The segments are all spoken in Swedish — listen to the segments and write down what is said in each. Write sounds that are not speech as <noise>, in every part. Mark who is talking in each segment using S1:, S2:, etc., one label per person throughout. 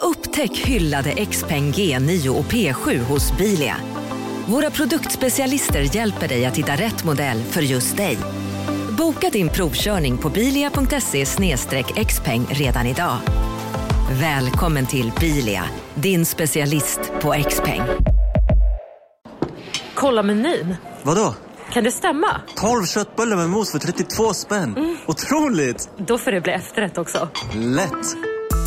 S1: Upptäck hyllade XPeng G9 och P7 hos Bilia. Våra produktspecialister hjälper dig att hitta rätt modell för just dig. Boka din provkörning på bilia.se xpeng redan idag. Välkommen till Bilia, din specialist på XPeng.
S2: Kolla menyn.
S3: Vadå?
S2: Kan det stämma?
S3: 12 köttbullar med mos för 32 spänn. Otroligt!
S2: Då får det bli efterrätt också.
S3: Lätt!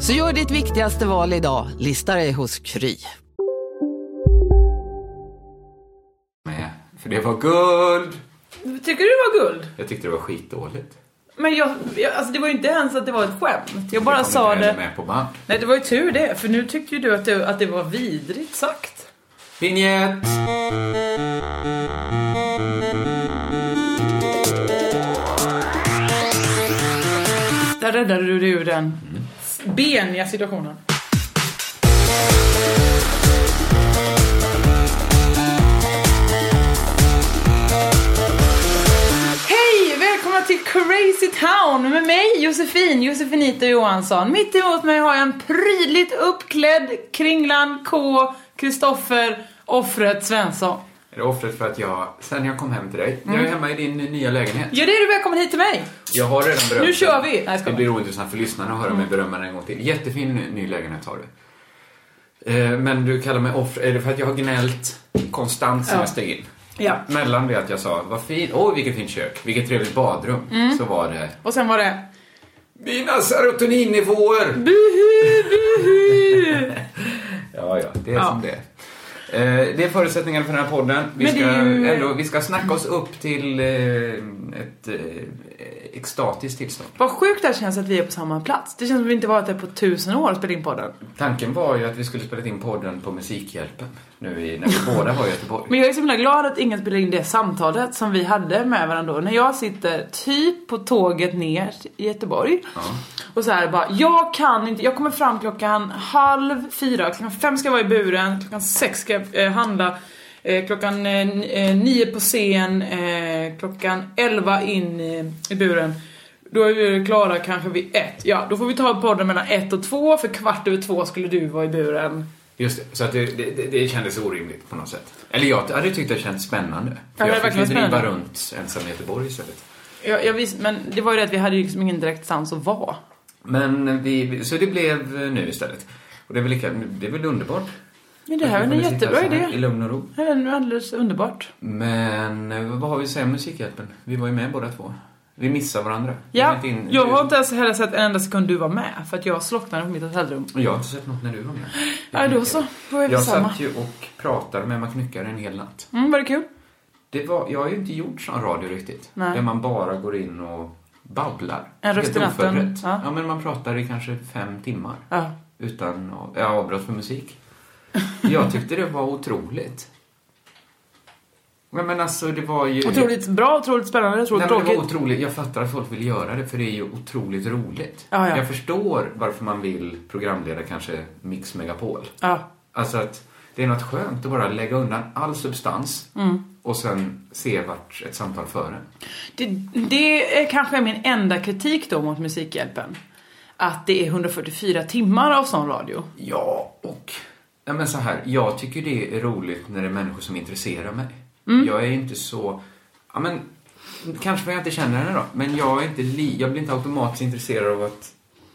S4: Så gör ditt viktigaste val idag, listar dig hos Kry.
S5: med. För det var guld!
S6: Tycker du det var guld?
S5: Jag tyckte det var skitdåligt.
S6: Men jag, jag, alltså det var ju inte ens att det var ett skämt. Jag
S5: Det
S6: bara
S5: kom
S6: sa
S5: inte heller
S6: det.
S5: med på band.
S6: Nej, det var ju tur det. För nu tyckte ju du att det, att det var vidrigt sagt.
S5: Vinjett!
S6: Där räddade du dig ur den beniga situationen. Hej! Välkomna till Crazy Town med mig Josefin, Josefinito Johansson. Mitt emot mig har jag en prydligt uppklädd Kringlan K, Kristoffer, offret Svensson.
S5: Är det offret för att jag, sen jag kom hem till dig, jag
S6: Mm.
S5: är hemma i din nya lägenhet.
S6: Ja, det är du välkommen hit till mig!
S5: Jag har redan berömt
S6: Nu
S5: dig.
S6: kör vi! Nej, jag
S5: Det
S6: skojar. Mm.
S5: blir ointressant för lyssnarna att höra mig berömma dig en gång till. Jättefin ny, ny lägenhet har du. Eh, Men du kallar mig offer, är det för att jag har gnällt konstant sen
S6: Ja.
S5: jag steg in?
S6: Ja.
S5: Mellan det att jag sa, vad fin, åh vilket fint kök, vilket trevligt badrum,
S6: Mm.
S5: så var det
S6: Och sen var det
S5: Mina serotoninnivåer!
S6: buhu, buhu!
S5: Ja, ja, det är
S6: Ja.
S5: som det är. Eh, Det är förutsättningarna för den här podden. Vi
S6: Men
S5: ska,
S6: det är ju-
S5: ändå, vi ska snacka oss upp till eh, ett eh, extatiskt tillstånd.
S6: Vad sjukt det här känns att vi är på samma plats. Det känns som att vi inte varit där på tusen år och spelat in podden.
S5: Tanken var ju att vi skulle spela in podden på Musikhjälpen nu i, när vi båda var i Göteborg.
S6: Men jag är så himla glad att ingen spelade in det samtalet som vi hade med varandra då. När jag sitter typ på tåget ner i Göteborg och så här bara, jag kan inte, jag kommer fram klockan halv fyra, klockan fem ska jag vara i buren, klockan sex ska jag eh, handla, eh, klockan eh, n- eh, nio på scen, eh, klockan elva in i, i buren. Då är vi klara kanske vid ett. Ja, då får vi ta podden mellan ett och två, för kvart över två skulle du vara i buren.
S5: Just det, så att det, det, det- det kändes orimligt på något sätt. Eller jag hade tyckt det kändes spännande.
S6: Ja,
S5: För
S6: det
S5: jag fick ju
S6: verkar
S5: driva
S6: spännande.
S5: runt ensam i Göteborg istället.
S6: Ja, jag visst, men det var ju det att vi hade ju liksom ingen direkt sans att vara.
S5: Men vi, så det blev nu istället. Och det är väl, lika, det är väl underbart?
S6: Men det här är
S5: Att vi
S6: en
S5: kunde sitta
S6: jättebra
S5: så här I
S6: idé.
S5: lugn och ro.
S6: Det här är nu alldeles underbart.
S5: Men eh, vad har vi att säga om Musikhjälpen? Vi var ju med båda två. Vi missar varandra. Vi
S6: Ja,
S5: vet in-
S6: jag har inte ens heller sett en enda sekund du var med för att jag slocknade på mitt hotellrum.
S5: Och Jag har inte sett något när du var med.
S6: Ja, då så. Då är vi
S5: Jag
S6: samma.
S5: satt ju och pratade med Mac Nyckare en hel natt.
S6: Mm, var det kul?
S5: Det var, jag har ju inte gjort sån radio riktigt.
S6: Nej.
S5: Där man bara går in och babblar.
S6: En röst
S5: Helt
S6: i natten.
S5: oförberett.
S6: Ja.
S5: Ja. men man pratar i kanske fem timmar.
S6: Ja.
S5: Utan av- ja, avbrott för musik. Jag tyckte det var otroligt. Men, men alltså det var ju...
S6: Otroligt bra, otroligt spännande, otroligt
S5: Nej, men det var
S6: tråkigt.
S5: otroligt. Jag fattar att folk vill göra det, för det är ju otroligt roligt.
S6: Ja, ja.
S5: Jag förstår varför man vill programleda kanske Mix Megapol.
S6: Ja.
S5: Alltså att det är något skönt att bara lägga undan all substans
S6: Mm.
S5: och sen se vart ett samtal för en.
S6: Det, det är kanske min enda kritik då mot Musikhjälpen. Att det är 144 timmar av sån radio.
S5: Ja, och... Ja, men så här, jag tycker det är roligt när det är människor som intresserar mig.
S6: Mm.
S5: Jag är inte så... Ja, men, kanske för att jag inte känner henne då, men jag, är inte li, jag blir inte automatiskt intresserad av att...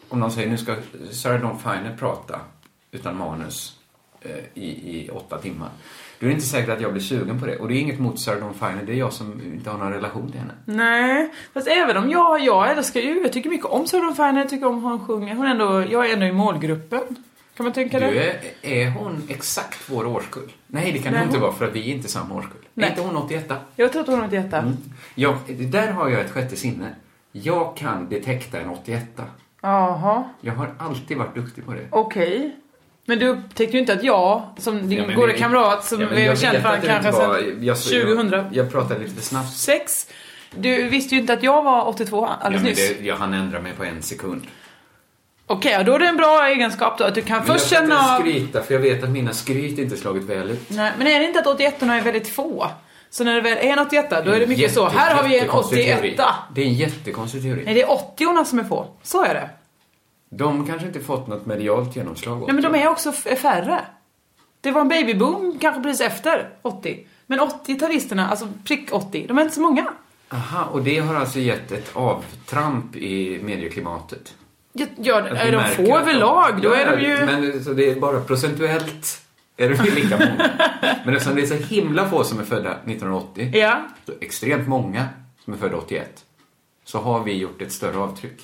S5: Om någon säger nu ska Sarah Dawn Finer prata utan manus eh, i, i åtta timmar. Då är det inte säkert att jag blir sugen på det. Och det är inget mot Sarah Dawn Finer, det är jag som inte har någon relation till henne.
S6: Nej, fast även om jag, jag älskar ju, jag tycker mycket om Sören Finer, jag tycker om hur hon sjunger. Hon är ändå, jag är ändå i målgruppen. Kan man tänka det?
S5: Du, är, är hon exakt vår årskull? Nej, det kan
S6: Nej,
S5: hon inte
S6: hon-
S5: vara för att vi är inte samma årskull.
S6: Nej.
S5: Är inte hon 81?
S6: Jag tror att hon har ett hjärta.
S5: Mm. Ja, där har jag ett sjätte sinne. Jag kan detekta en 81
S6: Jaha,
S5: Jag har alltid varit duktig på det.
S6: okej. Men du upptäckte ju inte att jag, som din
S5: Ja, men
S6: goda
S5: vi-
S6: kamrat, som
S5: Ja, men
S6: vi har
S5: jag
S6: känt
S5: vet att
S6: varandra
S5: det
S6: kanske
S5: inte var-
S6: sedan
S5: jag-
S6: 2000.
S5: Jag, jag pratade lite snabbt.
S6: Sex. Du visste ju inte att jag var 82
S5: Ja,
S6: alldeles
S5: men
S6: nyss.
S5: det, jag hann ändra mig på en sekund.
S6: Okej, ja, då är det en bra egenskap då. Att du kan
S5: Men
S6: först
S5: jag ska
S6: känna
S5: inte
S6: av...
S5: skryta för jag vet att mina skryt inte slagit väl ut.
S6: Nej, men är det inte att 81 orna är väldigt få? Så när det väl är en 81 då är det mycket så. Här har vi en
S5: jättekonstig
S6: 81
S5: teori. Det är en jättekonstig teori.
S6: Nej, det är 80 orna som är få. Så är det.
S5: De kanske inte fått något medialt genomslag åt
S6: Nej, men de
S5: det.
S6: är också f- färre. Det var en babyboom kanske precis efter 80. Men 80-talisterna, alltså prick 80, de är inte så många.
S5: Aha, och det har alltså gett ett avtramp i medieklimatet.
S6: Ja, ja
S5: Att
S6: är
S5: vi
S6: de
S5: märker
S6: få
S5: att
S6: överlag, då
S5: Ja,
S6: är de ju...
S5: Men, så det är bara procentuellt är det väl lika
S6: <laughs>
S5: många. men eftersom det är så himla få som är födda 1980,
S6: Ja.
S5: så extremt många som är födda 81, så har vi gjort ett större avtryck.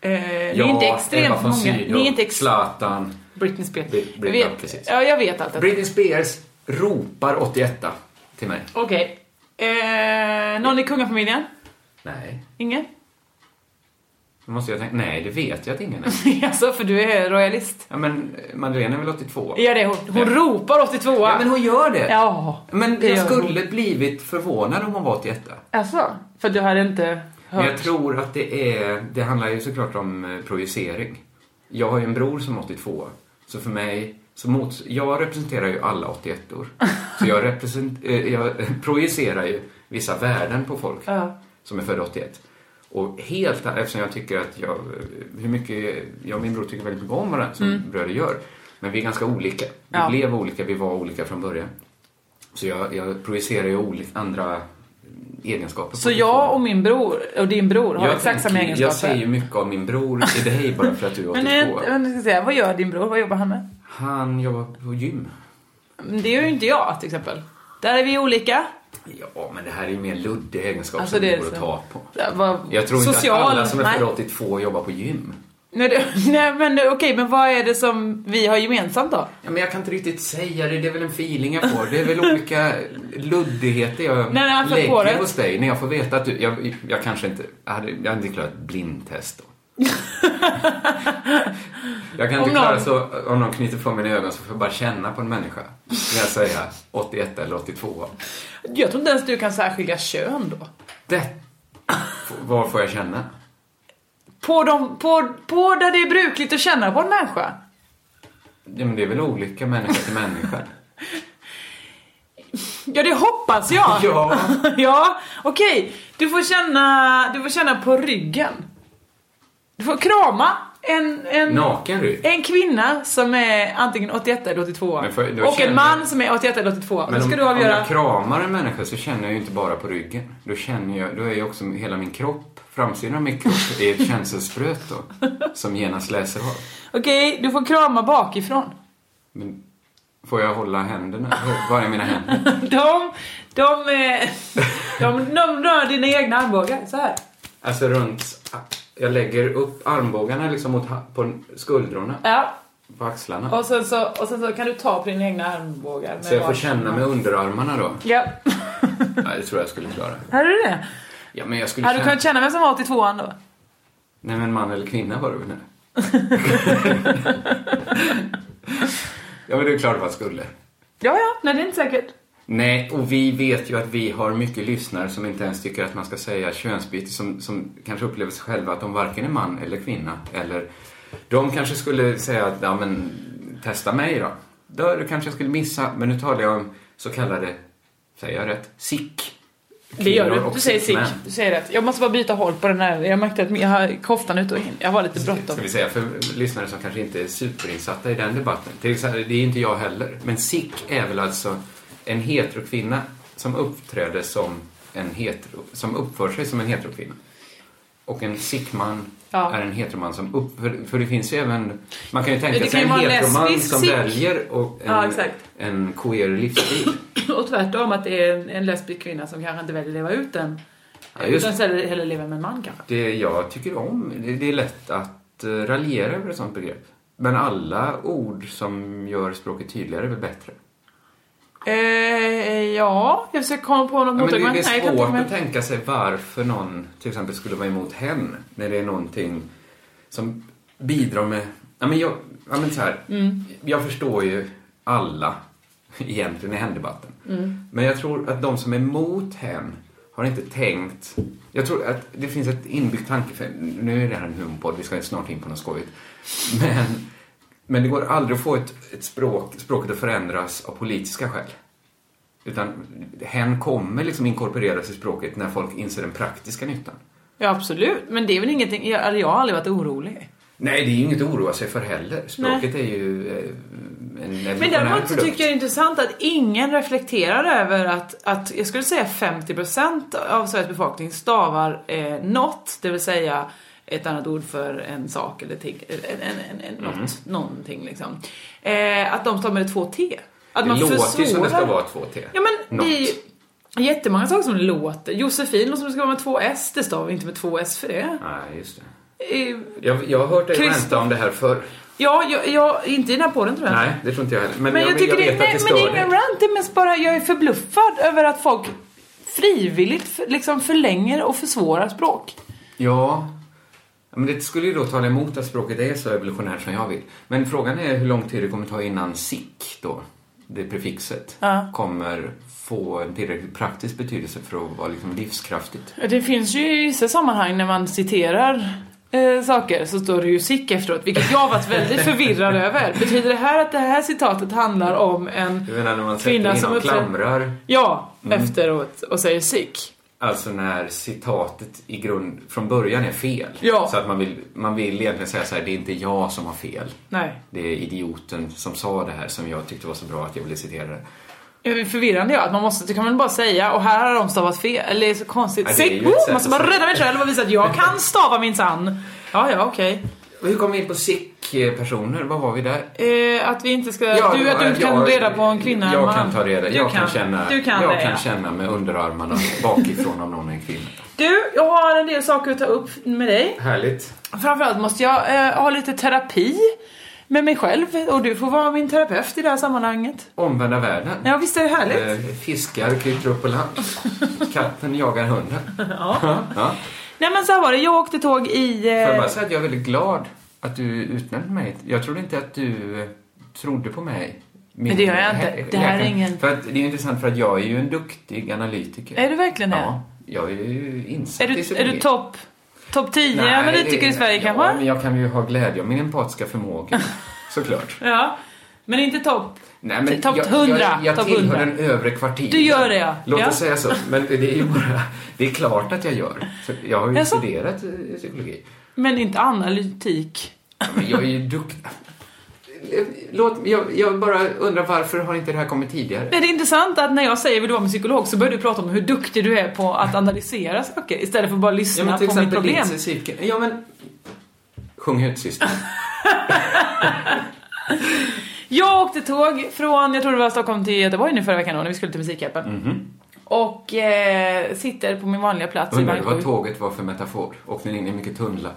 S6: Eh, ni är inte extremt många. Ni är inte ex-
S5: Zlatan.
S6: Britney Spears.
S5: Brit-
S6: jag
S5: Britney, precis.
S6: vet, ja, jag vet allt detta.
S5: Britney Spears ropar 81 till mig.
S6: Okej. Eh, någon i kungafamiljen?
S5: Nej,
S6: Ingen?
S5: då måste jag tänka. Nej, det vet jag att ingen är.
S6: <laughs> alltså, för du är royalist.
S5: Ja, men eh, Madeleine är väl 82?
S6: Ja, det är hon. Hon
S5: Ja.
S6: ropar 82
S5: Ja, men hon gör det.
S6: Ja,
S5: men
S6: det
S5: jag
S6: gör
S5: skulle blivit förvånad om hon var 81.
S6: Alltså, för du hade inte
S5: Men
S6: hört...
S5: jag tror att det är, det handlar ju såklart om eh, projicering. Jag har ju en bror som är 82, så för mig, så mot, jag representerar ju alla 81or. Så jag, represent, eh, jag <laughs> projicerar ju vissa värden på folk
S6: Ja.
S5: som är födda 81. Och helt, eftersom jag tycker att jag, eh, hur mycket, jag och min bror tycker väldigt mycket om varandra som bröder gör. Men vi är ganska olika. Vi
S6: Mm. Ja.
S5: blev olika, vi var olika från början. Så jag, jag projicerar ju olika, andra egenskaper. på
S6: Så
S5: 82.
S6: jag och min bror, och din bror, har exakt samma
S5: tänker- Jag
S6: egenskaper.
S5: säger ju mycket av min bror till dig bara för att du är 82.
S6: men, eh, men jag ska säga, vad gör din bror? Vad jobbar han med?
S5: Han jobbar på gym.
S6: Men Det gör ju inte jag till exempel. Där är vi olika.
S5: Ja, men det här är ju mer luddig egenskap
S6: Alltså,
S5: som
S6: det
S5: det
S6: är
S5: går att
S6: så.
S5: ta på.
S6: Ja, vad-
S5: Jag tror
S6: social,
S5: inte att alla som är
S6: nej.
S5: födda 82 jobbar på gym.
S6: Nej, det, <laughs> nej men okej, men vad är det som vi har gemensamt då? <laughs>
S5: Ja, men jag kan inte riktigt säga det, det är väl en feeling jag får. Det är väl olika luddigheter jag
S6: Nej, nej, jag får på det.
S5: lägger hos dig när jag får veta att du... Jag, jag kanske inte... Jag hade, jag hade inte klarat ett blindtest då. jag kan inte
S6: Om
S5: klara
S6: någon-
S5: så... Om någon knyter på mina ögon så får jag bara känna på en människa. När jag säger 81 eller 82.
S6: Jag tror inte ens du kan särskilja kön då.
S5: Det... Var får jag känna?
S6: På, de, på, på där det är brukligt att känna på en människa.
S5: Ja, men det är väl olika människa till
S6: <laughs>
S5: människa.
S6: Ja, det hoppas jag!
S5: Ja.
S6: <laughs> ja, okej. Du, får känna, du får känna på ryggen. Du får krama en, en,
S5: Naken rygg.
S6: en kvinna som är antingen 81 eller 82
S5: Men får- då
S6: och en
S5: känner-
S6: man som är 81 eller 82. Då
S5: Men om,
S6: ska du
S5: om
S6: avgöra.
S5: jag kramar en människa så känner jag ju inte bara på ryggen. Då känner jag, då är ju också hela min kropp, framsidan av min kropp, är ett känselspröt
S6: <laughs>
S5: då. Som genast läser av.
S6: Okej, du får krama bakifrån. <laughs>
S5: Men får jag hålla händerna? Var är mina händer?
S6: De, de,
S5: <laughs>
S6: eh, de, de rör dina egna armbågar. Så här.
S5: Alltså runt, jag lägger upp armbågarna liksom mot, ha- på skuldrorna,
S6: Ja.
S5: på axlarna.
S6: Och sen, så, och sen så kan du ta på dina egna armbågar. med
S5: så jag får
S6: varsin
S5: känna
S6: hand.
S5: med underarmarna då?
S6: Ja. <laughs>
S5: Nej, det tror jag skulle klara.
S6: Hade du det?
S5: Ja, men jag skulle
S6: Hade du
S5: känna...
S6: kunnat känna vem som var 82an då?
S5: Nej, men man eller kvinna var det
S6: <laughs>
S5: väl nu? ja, men det är klart man skulle.
S6: Ja, ja. Nej, det är inte säkert.
S5: Nej, och vi vet ju att vi har mycket lyssnare som inte ens tycker att man ska säga könsbyte, som, som kanske upplever sig själva att de varken är man eller kvinna. Eller de kanske skulle säga att, ja men, testa mig då. Då kanske jag skulle missa, men nu talar jag om så kallade, säger jag rätt, sick.
S6: Det gör
S5: Kvinnor
S6: du.
S5: och
S6: Du säger sick.
S5: sick-män.
S6: Du säger rätt. Jag måste bara byta håll på den här. Jag märkte att min- jag har koftan ut och in. Jag var lite bråttom.
S5: Ska vi säga för lyssnare som kanske inte är superinsatta i den debatten. Till exempel, det är ju inte jag heller. Men sick är väl alltså en heterokvinna som uppträder som en hetero, som uppför sig som en heterokvinna. Och en sickman
S6: Ja.
S5: är en heteroman som upp... För, för det finns ju även... Man kan ju
S6: Det
S5: tänka
S6: kan
S5: sig
S6: ju
S5: en
S6: vara en
S5: heteroman
S6: lesbisk
S5: som
S6: sick.
S5: väljer och en,
S6: Ja, exakt.
S5: en queer livsstil.
S6: Och tvärtom att det är en, en lesbisk kvinna som kanske inte väljer att leva ut den.
S5: Ja, just
S6: utan hellre, hellre leva med en man kanske.
S5: Det jag tycker om, det, det är lätt att eh, raljera över ett sånt begrepp. Men alla ord som gör språket tydligare är väl bättre?
S6: Eh, ja, jag försöker komma på något
S5: Ja, men det,
S6: motargument.
S5: det
S6: Nej, jag
S5: är
S6: kan inte
S5: svårt
S6: komma-
S5: att tänka sig varför någon till exempel skulle vara emot hen när det är någonting som bidrar med Ja, men jag, ja, men så här,
S6: Mm.
S5: jag förstår ju alla egentligen i hemdebatten.
S6: Mm.
S5: Men jag tror att de som är emot hem har inte tänkt... Jag tror att det finns ett inbyggt tankefel. Nu är det här en humpodd, vi ska snart in på något skojigt. Men, men det går aldrig att få ett, ett språk, språket att förändras av politiska skäl. Utan hen kommer liksom inkorporeras i språket när folk inser den praktiska nyttan.
S6: Ja absolut, men det är väl ingenting, jag, eller jag har aldrig varit orolig.
S5: Nej, det är ju inget att oroa sig för heller. Språket är ju eh, en
S6: Men
S5: evolutionär
S6: däremot så
S5: produkt.
S6: tycker jag det är intressant att ingen reflekterar över att, att jag skulle säga 50% av Sveriges befolkning stavar eh, något, det vill säga ett annat ord för en sak eller ting, en, en, en, en,
S5: Mm.
S6: något, någonting liksom. Eh, att de stavar med två T. Att
S5: Det låter ju som det ska
S6: försvårar-
S5: vara två T.
S6: Ja men det är ju jättemånga saker som låter. Josefin låter som det ska vara med två S, det stavar vi inte med två S för det.
S5: Nej, just det.
S6: Eh,
S5: Jag, jag har hört dig
S6: Christoph-
S5: ränta om det här förr.
S6: ja, jag, jag, inte i den här podden tror jag.
S5: Nej, det tror inte jag heller. Men,
S6: Men jag, tycker
S5: vet
S6: det, nej,
S5: att det
S6: men det
S5: stör
S6: är ingen
S5: dig.
S6: rant, det är mest bara jag är förbluffad över att folk frivilligt för, liksom förlänger och försvårar språk.
S5: Ja. Ja, Men det skulle ju då tala emot att språket är så evolutionärt som jag vill. Men frågan är hur lång tid det kommer ta innan sick då, det prefixet,
S6: Ja.
S5: kommer få en tillräckligt praktisk betydelse för att vara liksom livskraftigt.
S6: Det finns ju i vissa sammanhang när man citerar eh, saker så står det ju sick efteråt, vilket jag har varit väldigt förvirrad <laughs> över. Betyder det här att det här citatet handlar om en
S5: Du menar när man
S6: Kvinna
S5: sätter in
S6: som
S5: och
S6: uppträder-
S5: klamrar? Mm.
S6: ja efteråt och säger sick?
S5: Alltså när citatet i grund, från början är fel.
S6: Ja.
S5: Så att man vill, man vill egentligen säga så här, det är inte jag som har fel.
S6: Nej.
S5: Det är idioten som sa det här som jag tyckte var så bra att jag ville citera det.
S6: Det är förvirrande ja, att man måste, det kan man bara säga och här har de stavat fel, eller det är så konstigt.
S5: Ja, det är ju
S6: Sick!
S5: ett
S6: Oh,
S5: sätt
S6: måste
S5: att
S6: bara
S5: säga.
S6: rädda mig själv och visa att jag kan stava minsann. Ja, ja, okej.
S5: Och hur kom vi in på sick-personer? Vad var vi där?
S6: Eh, att vi inte ska... du, att du inte
S5: jag-
S6: kan reda på en kvinna
S5: Jag
S6: man.
S5: kan ta reda.
S6: Du
S5: Jag kan, känna,
S6: Du kan
S5: jag
S6: det,
S5: kan
S6: ja.
S5: känna med underarmarna bakifrån om någon är en kvinna.
S6: Du, jag har en del saker att ta upp med dig.
S5: Härligt.
S6: Framförallt måste jag eh, ha lite terapi med mig själv och du får vara min terapeut i det här sammanhanget.
S5: Omvända världen.
S6: Ja, visst är det härligt?
S5: Eh, Fiskar kryper upp på land. Katten jagar hunden. Ja. ja.
S6: Nej men så här var det, jag åkte tåg i...
S5: Får jag
S6: Eh,
S5: bara säga att jag är väldigt glad att du utnämnde mig. Jag trodde inte att du eh, trodde på mig. Min-
S6: Men det gör jag inte. Det här är
S5: Jag kan-
S6: ingen-
S5: För att, det är ju intressant för att jag är ju en duktig analytiker.
S6: är du verkligen det?
S5: Ja, jag är ju insatt
S6: Är
S5: i
S6: du, är
S5: psykologi.
S6: du topp top 10
S5: Nej,
S6: analytiker i
S5: det-
S6: Sverige
S5: ja,
S6: kanske?
S5: men jag kan ju ha glädje av min empatiska förmåga. <laughs> Såklart.
S6: Ja. Men inte topp.
S5: Nej, men
S6: Topp
S5: jag,
S6: 100,
S5: Jag, jag
S6: topp
S5: tillhör
S6: 100.
S5: den övre kvartilen.
S6: Du gör det, ja.
S5: Låt
S6: Ja.
S5: oss säga så. Men det är ju bara... Det är klart att jag gör. Så jag har ju
S6: Jaså?
S5: studerat eh, psykologi.
S6: Men inte analytik.
S5: Men jag är ju duktig. Låt, jag, jag bara undrar varför har inte det här kommit tidigare?
S6: Men det är intressant att när jag säger vill du vara min psykolog så börjar du prata om hur duktig du är på att
S5: <laughs>
S6: analysera saker istället för att bara lyssna på mitt problem.
S5: Lindsey Silke- Ja, men... Sjung ut syster.
S6: Jag åkte tåg från, jag tror det var Stockholm till Göteborg nu förra veckan då, när vi skulle till Musikhjälpen.
S5: Mhm.
S6: Och eh, sitter på min vanliga plats i
S5: Undrar
S6: vagn
S5: vad
S6: sju.
S5: tåget var för metafor. Åkte ni in i mycket tunnlar?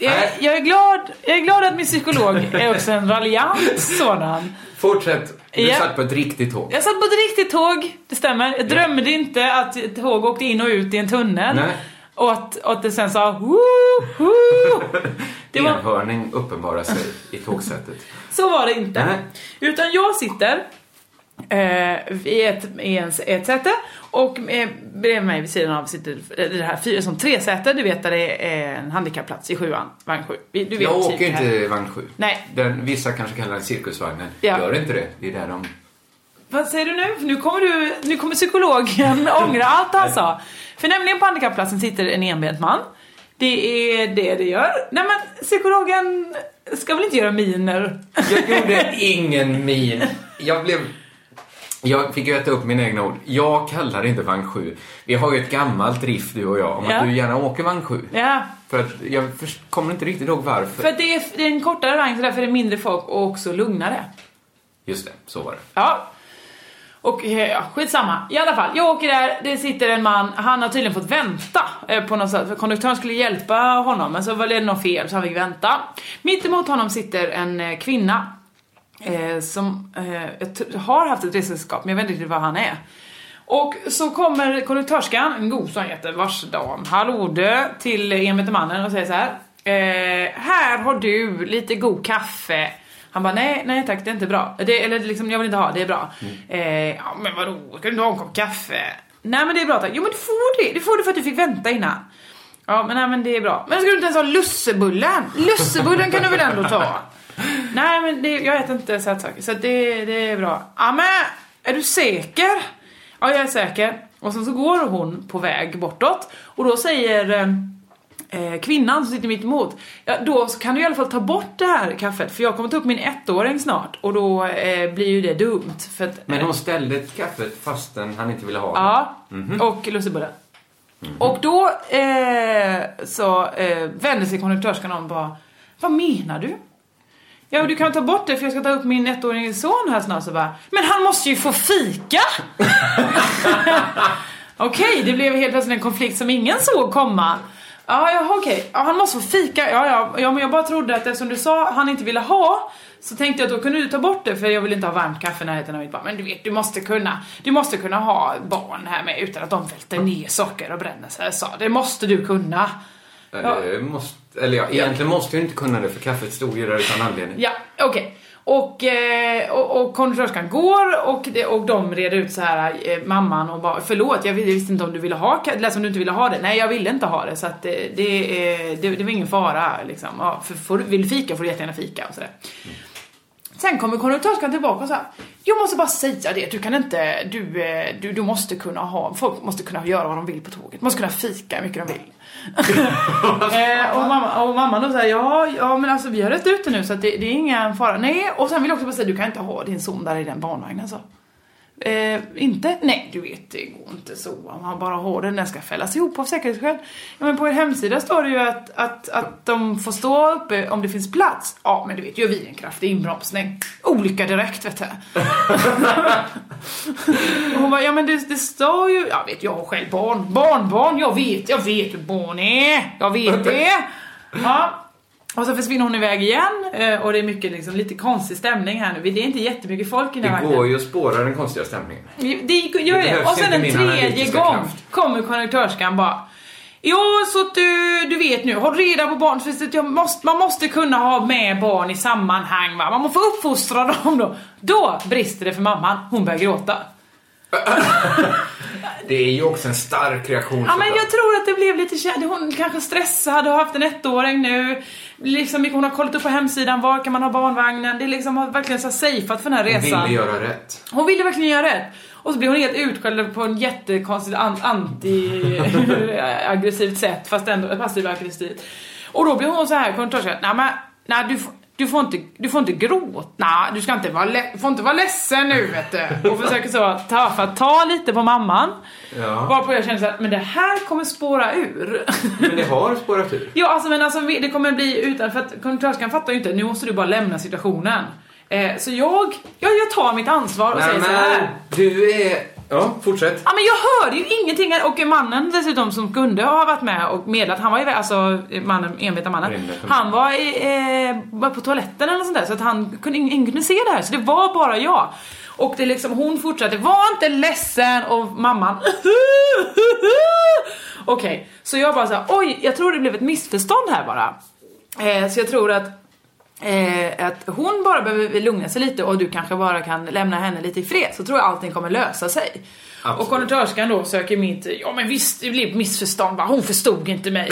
S6: jag, jag, är glad, jag är glad att min psykolog är också en raljant sådan.
S5: Fortsätt. Du
S6: Ja.
S5: satt på ett riktigt tåg.
S6: Jag satt på ett riktigt tåg, det stämmer. Jag drömde inte att ett tåg åkte in och ut i en tunnel.
S5: Nej.
S6: Och att, och att det sen sa woo,
S5: <laughs>
S6: woo. Det var,
S5: Enhörning uppenbarar sig i tågsättet.
S6: Så var <laughs> det inte.
S5: Nej.
S6: Utan jag sitter eh, i ett, i ens, ett säte och eh, bredvid mig vid sidan av sitter eh, det här fyra som tre säte. Du vet där det är en handikappplats i sjuan, vagn sju. Vi- Du vet,
S5: Jag
S6: typ
S5: åker
S6: det här.
S5: inte vagn 7.
S6: Nej.
S5: Den, vissa kanske kallar den cirkusvagnen.
S6: Ja.
S5: Gör inte det. Det är där de...
S6: Vad säger du nu? Nu kommer, du, nu
S5: <laughs>
S6: kommer psykologen ångra allt han sa. För nämligen på handikappplatsen sitter en enbent man. Det är det det gör. Nej men psykologen ska väl inte göra miner?
S5: Jag gjorde ingen min. Jag blev... Jag fick ju äta upp mina egna ord. Jag kallar det inte vagn 7. Vi har ju ett gammalt riff du och jag om
S6: Ja.
S5: att du gärna åker vagn 7.
S6: <laughs> Ja.
S5: För att jag först, kommer inte riktigt ihåg varför.
S6: För att det är, det är en kortare vagn så därför är det mindre folk och också lugnare.
S5: Just det, så var det.
S6: Ja. Och eh, ja, skitsamma. I alla fall, jag åker där, det sitter en man, han har tydligen fått vänta eh, på något sätt. För konduktören skulle hjälpa honom men så var det något fel så han fick vänta. Mitt emot honom sitter en eh, kvinna. Eh, som eh, jag tr- har haft ett resesällskap men jag vet inte riktigt vad han är. Och så kommer konduktörskan, en god sån jättevars dam, hallå du, till enbente mannen och säger så här. eh, här har du lite god kaffe. Han bara, nej, nej tack, det är inte bra. Det, eller liksom, jag vill inte ha, det är bra. Eh, ja, men vadå, ska du inte ha en kopp kaffe? Nej men det är bra tack. Jo men du får det, det får du för att du fick vänta innan. Ja men nej men det är bra. Men ska du inte ens ha lussebullen? Lussebullen kan du väl ändå ta? Nej men det, jag äter inte sötsaker så att det, det är bra. Ja men, är du säker? Ja jag är säker. Och sen så går hon på väg bortåt och då säger eh, eh, kvinnan som sitter mitt emot ja, då så kan du i alla fall ta bort det här kaffet för jag kommer ta upp min ettåring snart och då eh, blir ju det dumt. För att, eh,
S5: Men hon ställde kaffet fastän han inte ville ha det.
S6: Ja,
S5: Mhm.
S6: och lussebullar. Och då eh, så eh, vände sig konduktörskan om och bara Vad menar du? Ja, du kan ta bort det för jag ska ta upp min ettårige son här snart. Så bara, men han måste ju få fika! <laughs> okej, det blev helt plötsligt en konflikt som ingen såg komma. Ja, ja okej. Ja, han måste få fika. Ja, ja, ja, men jag bara trodde att eftersom du sa han inte ville ha så tänkte jag att då kunde du ta bort det för jag vill inte ha varmt kaffe i närheten av mitt barn. Men du vet, du måste kunna, du måste kunna ha barn här med utan att de välter ner saker och bränner sig. Så det måste du kunna.
S5: Eller, Eh, måste, eller ja, egentligen måste jag inte kunna det för kaffet stod ju där utan anledning.
S6: Ja, okej. Och, eh, och, och konduktörskan går och, det, och de reder ut så här eh, mamman och bara förlåt jag vis- jag visste inte om du ville ha ka- det lät som du inte ville ha det. Nej jag ville inte ha det så att eh, det, eh, det, det var ingen fara liksom. Ja, för, får, du- vill du fika får du jättegärna fika och sådär. Sen kommer konduktörskan tillbaka och så här. Jag måste bara säga det, du kan inte, du, eh, du, du måste kunna ha, folk måste kunna göra vad de vill på tåget. Måste kunna fika hur mycket de vill. eh, och, mamma, och mamman då säger ja, ja men alltså vi har rätt ut det nu så att det, det är ingen fara. Nej, och sen vill jag också bara säga du kan inte ha din son där i den barnvagnen så. Eh, inte? Nej, du vet det går inte så. Om man bara har den, den ska fällas ihop av säkerhetsskäl. Ja, men på er hemsida står det ju att, att, att de får stå uppe om det finns plats. Ja, men du vet, gör vi en kraftig inbromsning. Olycka direkt, vet
S5: <laughs>
S6: du. Och hon bara, ja men det, det står ju, jag vet, jag har själv barn, barnbarn, jag vet, jag vet hur barn är, jag vet det. Ja. Och så försvinner hon iväg igen eh, och det är mycket liksom, lite konstig stämning här nu. Det är inte jättemycket folk i den här
S5: Det går ju att spåra den konstiga stämningen.
S6: det gick, gör
S5: Det
S6: det.
S5: behövs
S6: Och sen
S5: inte
S6: en
S5: min
S6: tredje
S5: analytiska
S6: gång
S5: kraft.
S6: kommer konduktörskan bara. Ja, så att du, du vet nu, håll reda på barn. För att jag måste, man måste kunna ha med barn i sammanhang. Va? Man måste få uppfostra dem då. Då brister det för mamman. Hon börjar gråta.
S5: Det är ju också en stark reaktion.
S6: Ja, men
S5: såklart.
S6: jag tror att det blev lite kär. Hon kanske stressad och har haft en ettåring nu. Liksom, hon har kollat upp på hemsidan. Var kan man ha barnvagnen? Det är liksom har verkligen så här safeat för den här resan.
S5: Ville göra rätt.
S6: Hon ville verkligen göra rätt. Och så blev hon helt utskälld på en jättekonstigt an- anti-aggressivt sätt fast ändå passiv-aggressivt. Och då blev hon så här kontroversiell. Nej men, nej du, f- du får inte, du får inte gråta. Nej, du ska inte vara, le- du får inte vara ledsen nu vet du. Och försöker så ta, för att ta lite på mamman.
S5: Ja.
S6: Varpå jag känner så här, men det här kommer spåra ur. <laughs>
S5: Men det har spårat ur.
S6: Ja, alltså men alltså det kommer bli utan för att konduktörskan fattar ju inte, nu måste du bara lämna situationen. Eh, så jag, jag, jag tar mitt ansvar och säger så här.
S5: du är... Ja, fortsätt.
S6: Ja men jag hörde ju ingenting här. och mannen dessutom som kunde ha varit med och medlat, han var ju alltså mannen, enveta mannen.
S5: Renbeten.
S6: Han var, i, eh, var på toaletten eller något sånt där så att han kunde, ingen kunde se det här så det var bara jag. Och det är liksom, hon fortsatte, var inte ledsen och mamman Okej, så jag bara såhär, oj jag tror det blev ett missförstånd här bara. Eh, så jag tror att Eh, att hon bara behöver lugna sig lite och du kanske bara kan lämna henne lite i fred så tror jag allting kommer lösa sig.
S5: Absolut.
S6: Och konduktörskan då söker mitt, ja men visst det blev ett missförstånd bara, hon förstod
S5: <laughs>
S6: inte mig.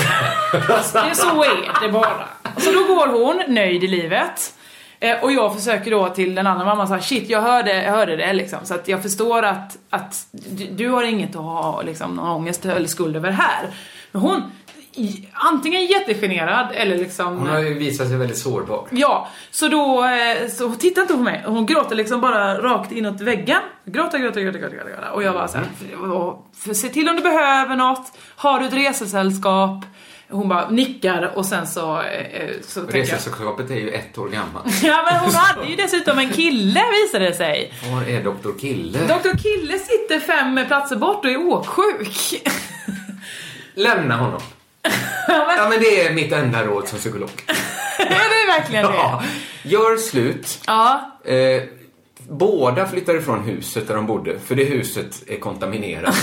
S6: det, så är det bara. Så då går hon nöjd i livet. Eh, och jag försöker då till den andra mamman säga shit jag hörde, jag hörde det liksom så att jag förstår att, att du, du har inget att ha liksom, någon ångest eller skuld över här. Men hon, i- antingen jättegenerad eller liksom
S5: Hon har ju visat sig väldigt sårbar.
S6: Ja, så då eh, så hon tittar inte på mig. Hon gråter liksom bara rakt inåt väggen. Gråter, gråter, gråter, gråter, gråter. Och jag bara såhär, för, se till om du behöver något. Har du ett resesällskap? Hon bara nickar och sen så, eh, eh, så tänker jag.
S5: Resesällskapet är ju ett år gammalt.
S6: <laughs> Ja men hon hade ju dessutom en kille visade det sig.
S5: Var är doktor Kille?
S6: Dr Kille sitter fem platser bort och är åksjuk. <laughs>
S5: Lämna honom.
S6: Ja, men- <laughs>
S5: Ja, men det är mitt enda råd som psykolog.
S6: Är det verkligen det?
S5: Ja. Gör slut.
S6: Ja.
S5: Eh, båda flyttar ifrån huset där de bodde, för det
S6: <laughs>
S5: huset är kontaminerat.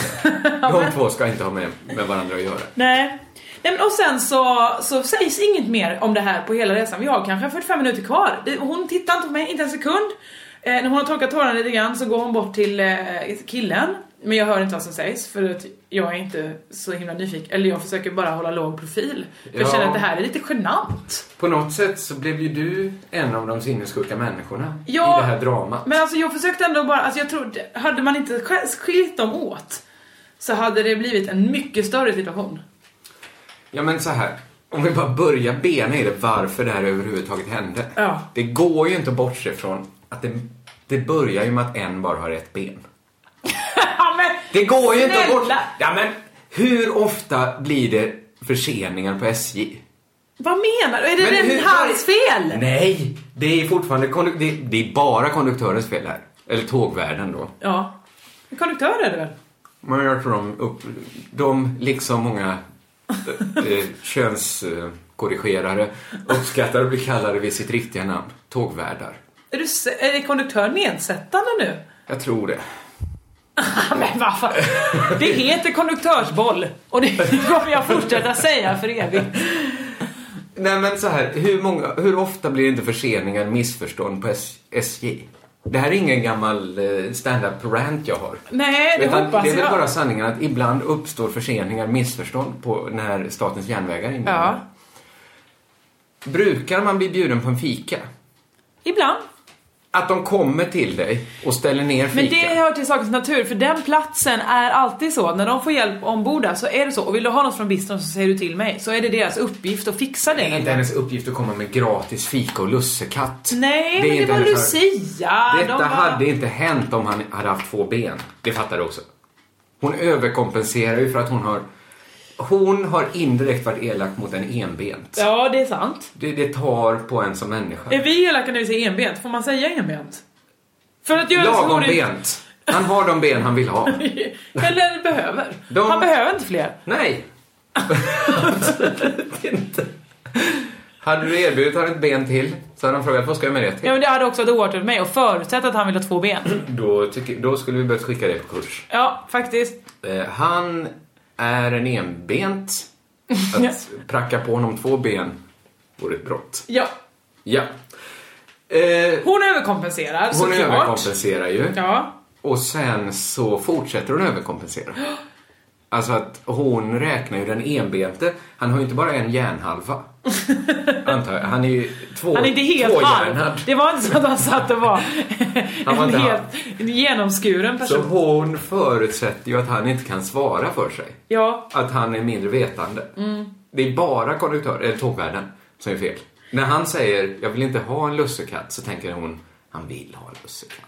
S5: De två ska inte ha med, med varandra att göra.
S6: Nej. Nej, men och sen så, så sägs inget mer om det här på hela resan. Vi har kanske 45 minuter kvar. Det- Hon tittar inte på mig, inte en sekund. Eh, när hon har torkat tårarna lite grann så går hon bort till eh, killen. Men jag hör inte vad som sägs för att jag är inte så himla nyfiken. Eller jag försöker bara hålla låg profil. För jag
S5: Ja.
S6: känner att det här är lite genant.
S5: På något sätt så blev ju du en av de sinnessjuka människorna
S6: Ja,
S5: i det här dramat.
S6: Men alltså jag försökte ändå bara, alltså jag trodde, hade man inte sk- skilt dem åt så hade det blivit en mycket större situation. <laughs>
S5: Ja, men så här. Om vi bara börjar bena i det varför det här överhuvudtaget hände.
S6: Ja.
S5: Det går ju inte att bortse från att det, det börjar ju med att en bara har ett ben.
S6: Ja, men,
S5: Det går ju inte att
S6: snälla!
S5: bortse... Ja, men hur ofta blir det förseningar på SJ?
S6: Vad menar du? Är det
S5: Men
S6: den
S5: hur-
S6: hans fel?
S5: Nej, det är fortfarande konduk- det, det är bara konduktörens fel här. Eller tågvärden då.
S6: Ja. En konduktör är det väl?
S5: Men jag tror de, upp, de liksom många eh, eh, könskorrigerare uppskattar att bli kallade vid sitt riktiga namn. Tågvärdar.
S6: Är, du, s- är konduktör nedsättande nu?
S5: Jag tror det.
S6: <laughs> Ja, men vad fan. Det heter konduktörsboll och det <laughs> kommer jag fortsätta säga för evigt.
S5: Nej men så här, hur, många, hur ofta blir det inte förseningar, missförstånd på S- SJ? Det här är ingen gammal eh, stand-up rant jag har.
S6: Nej, det
S5: Utan
S6: hoppas
S5: det är väl
S6: jag.
S5: bara sanningen att ibland uppstår förseningar, missförstånd på när Statens Järnvägar är
S6: Ja.
S5: inblandade. Brukar man bli bjuden på en fika?
S6: Ibland.
S5: Att de kommer till dig och ställer ner
S6: Men
S5: fika?
S6: det hör till sakens natur, för den platsen är alltid så. När de får hjälp ombord där så är det så. Och vill du ha något från bistron så säger du till mig. Så är det deras uppgift att fixa
S5: Det är
S6: det.
S5: inte hennes uppgift att komma med gratis fika och lussekatt.
S6: Nej,
S5: är
S6: men det
S5: inte
S6: var
S5: hennes
S6: Lucia.
S5: sak.
S6: de
S5: Detta
S6: var-
S5: hade inte hänt om han hade haft två ben. Det fattar du också. Hon överkompenserar ju för att hon har... Hon har indirekt varit elak mot en enbent.
S6: Ja, det är sant.
S5: Det, det tar på en som människa.
S6: Är vi elaka när vi säger enbent? Får man säga enbent? För att göra så
S5: Lagom
S6: roligt-
S5: bent. Han har de ben han vill ha.
S6: <laughs> Eller behöver.
S5: <laughs> De-
S6: Han behöver inte fler.
S5: Nej. Absolut inte. Hade du erbjudit honom ett ben till så hade han frågat vad ska jag med det till?
S6: Ja, men det hade också varit oartigt av mig att förutsätta att han vill ha två ben.
S5: Då, tycker, då skulle vi börjat skicka det på kurs.
S6: Ja, faktiskt.
S5: Eh, han är en enbent. Att pracka på honom två ben vore ett brott.
S6: Ja.
S5: Ja. Eh,
S6: Hon överkompenserar,
S5: hon
S6: såklart.
S5: överkompenserar ju.
S6: Ja.
S5: Och sen så fortsätter hon
S6: <gasps>
S5: överkompensera. Alltså att hon räknar ju den enbente. Han har ju inte bara en
S6: <laughs>
S5: hjärnhalva. Antar jag. Han är ju två,
S6: Han är inte helt
S5: tvåhjärnad.
S6: halv. Det var inte så att han satt och var
S5: <laughs> Han var
S6: en
S5: inte
S6: helt genomskuren
S5: Så
S6: person.
S5: hon förutsätter ju att han inte kan svara för sig.
S6: Ja. Mm.
S5: Att han är mindre vetande. Det är bara konduktör, eller tågvärden som är fel. När han säger jag vill inte ha en lussekatt så tänker hon han vill ha en lussekatt.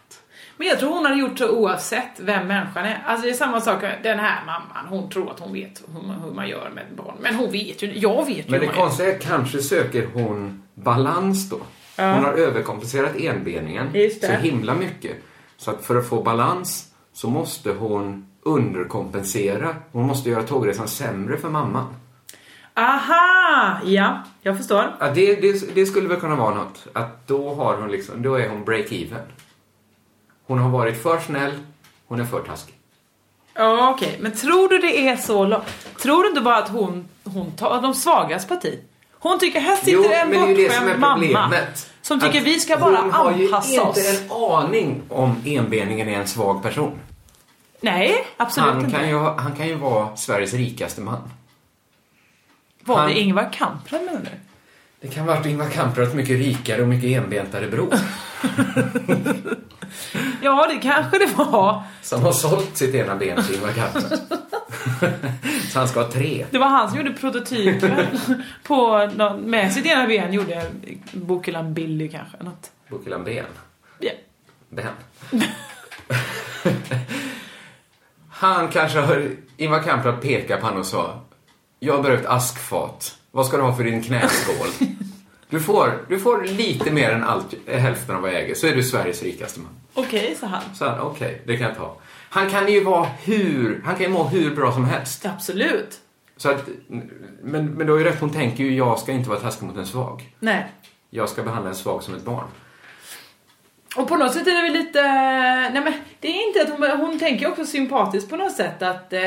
S6: Men jag tror hon hade gjort så oavsett vem människan är. Alltså det är samma sak med den här mamman. Hon tror att hon vet hur man, hur man gör med ett barn. Men hon vet ju Jag vet ju
S5: Men
S6: hur
S5: det
S6: man gör.
S5: konstiga är kanske söker hon balans då. Hon har överkompenserat enbeningen
S6: Just det.
S5: så himla mycket. Så att för att få balans så måste hon underkompensera. Hon måste göra tågresan sämre för mamman.
S6: Aha! Ja, jag förstår.
S5: Ja, det, det, det skulle väl kunna vara något. Att då har hon liksom, då är hon break-even. Hon har varit för snäll, hon är för taskig.
S6: Ja, okej. Men tror du det är så långt? Tror du inte bara att hon, hon tar de svagas parti? Hon tycker här sitter
S5: Jo,
S6: en
S5: men det är ju det som är
S6: bortskämd mamma
S5: problemet.
S6: som tycker
S5: Att
S6: vi ska bara anpassa
S5: Hon har ju
S6: oss.
S5: inte en aning om enbeningen är en svag person.
S6: Nej, absolut
S5: Han
S6: inte.
S5: kan, ju, ha- han kan ju vara Sveriges rikaste man.
S6: Var
S5: han-
S6: det Ingvar Kamprad menar du?
S5: Det kan vara att Ingvar Kamprad är mycket rikare och mycket enbentare bror.
S6: Ja, det kanske det var.
S5: som har sålt sitt ena ben till Ingvar
S6: <laughs>
S5: Kamprad. Så han ska ha tre.
S6: Det var han som gjorde
S5: <laughs>
S6: prototypen på någon, med sitt ena ben gjorde Bokulan Billy kanske. Något.
S5: Bukilan ben.
S6: Ja.
S5: Ben. han kanske hör Ingvar Kamprad peka på honom och sa Jag behöver ett askfat. Vad ska du ha för din knäskål? Du får, du får lite mer än allt, hälften av vad jag äger, så är du Sveriges rikaste man.
S6: Okej, sa han.
S5: Så han, okej, det kan jag ta. Han kan ju vara hur, han kan ju må hur bra som helst.
S6: Absolut.
S5: Så att, men, men du har ju rätt, hon tänker ju jag ska inte vara taskig mot en svag.
S6: Nej.
S5: Jag ska behandla en svag som ett barn.
S6: Och på något sätt är det väl lite... Nej men det är inte att hon, hon tänker också sympatiskt på något sätt att... Eh,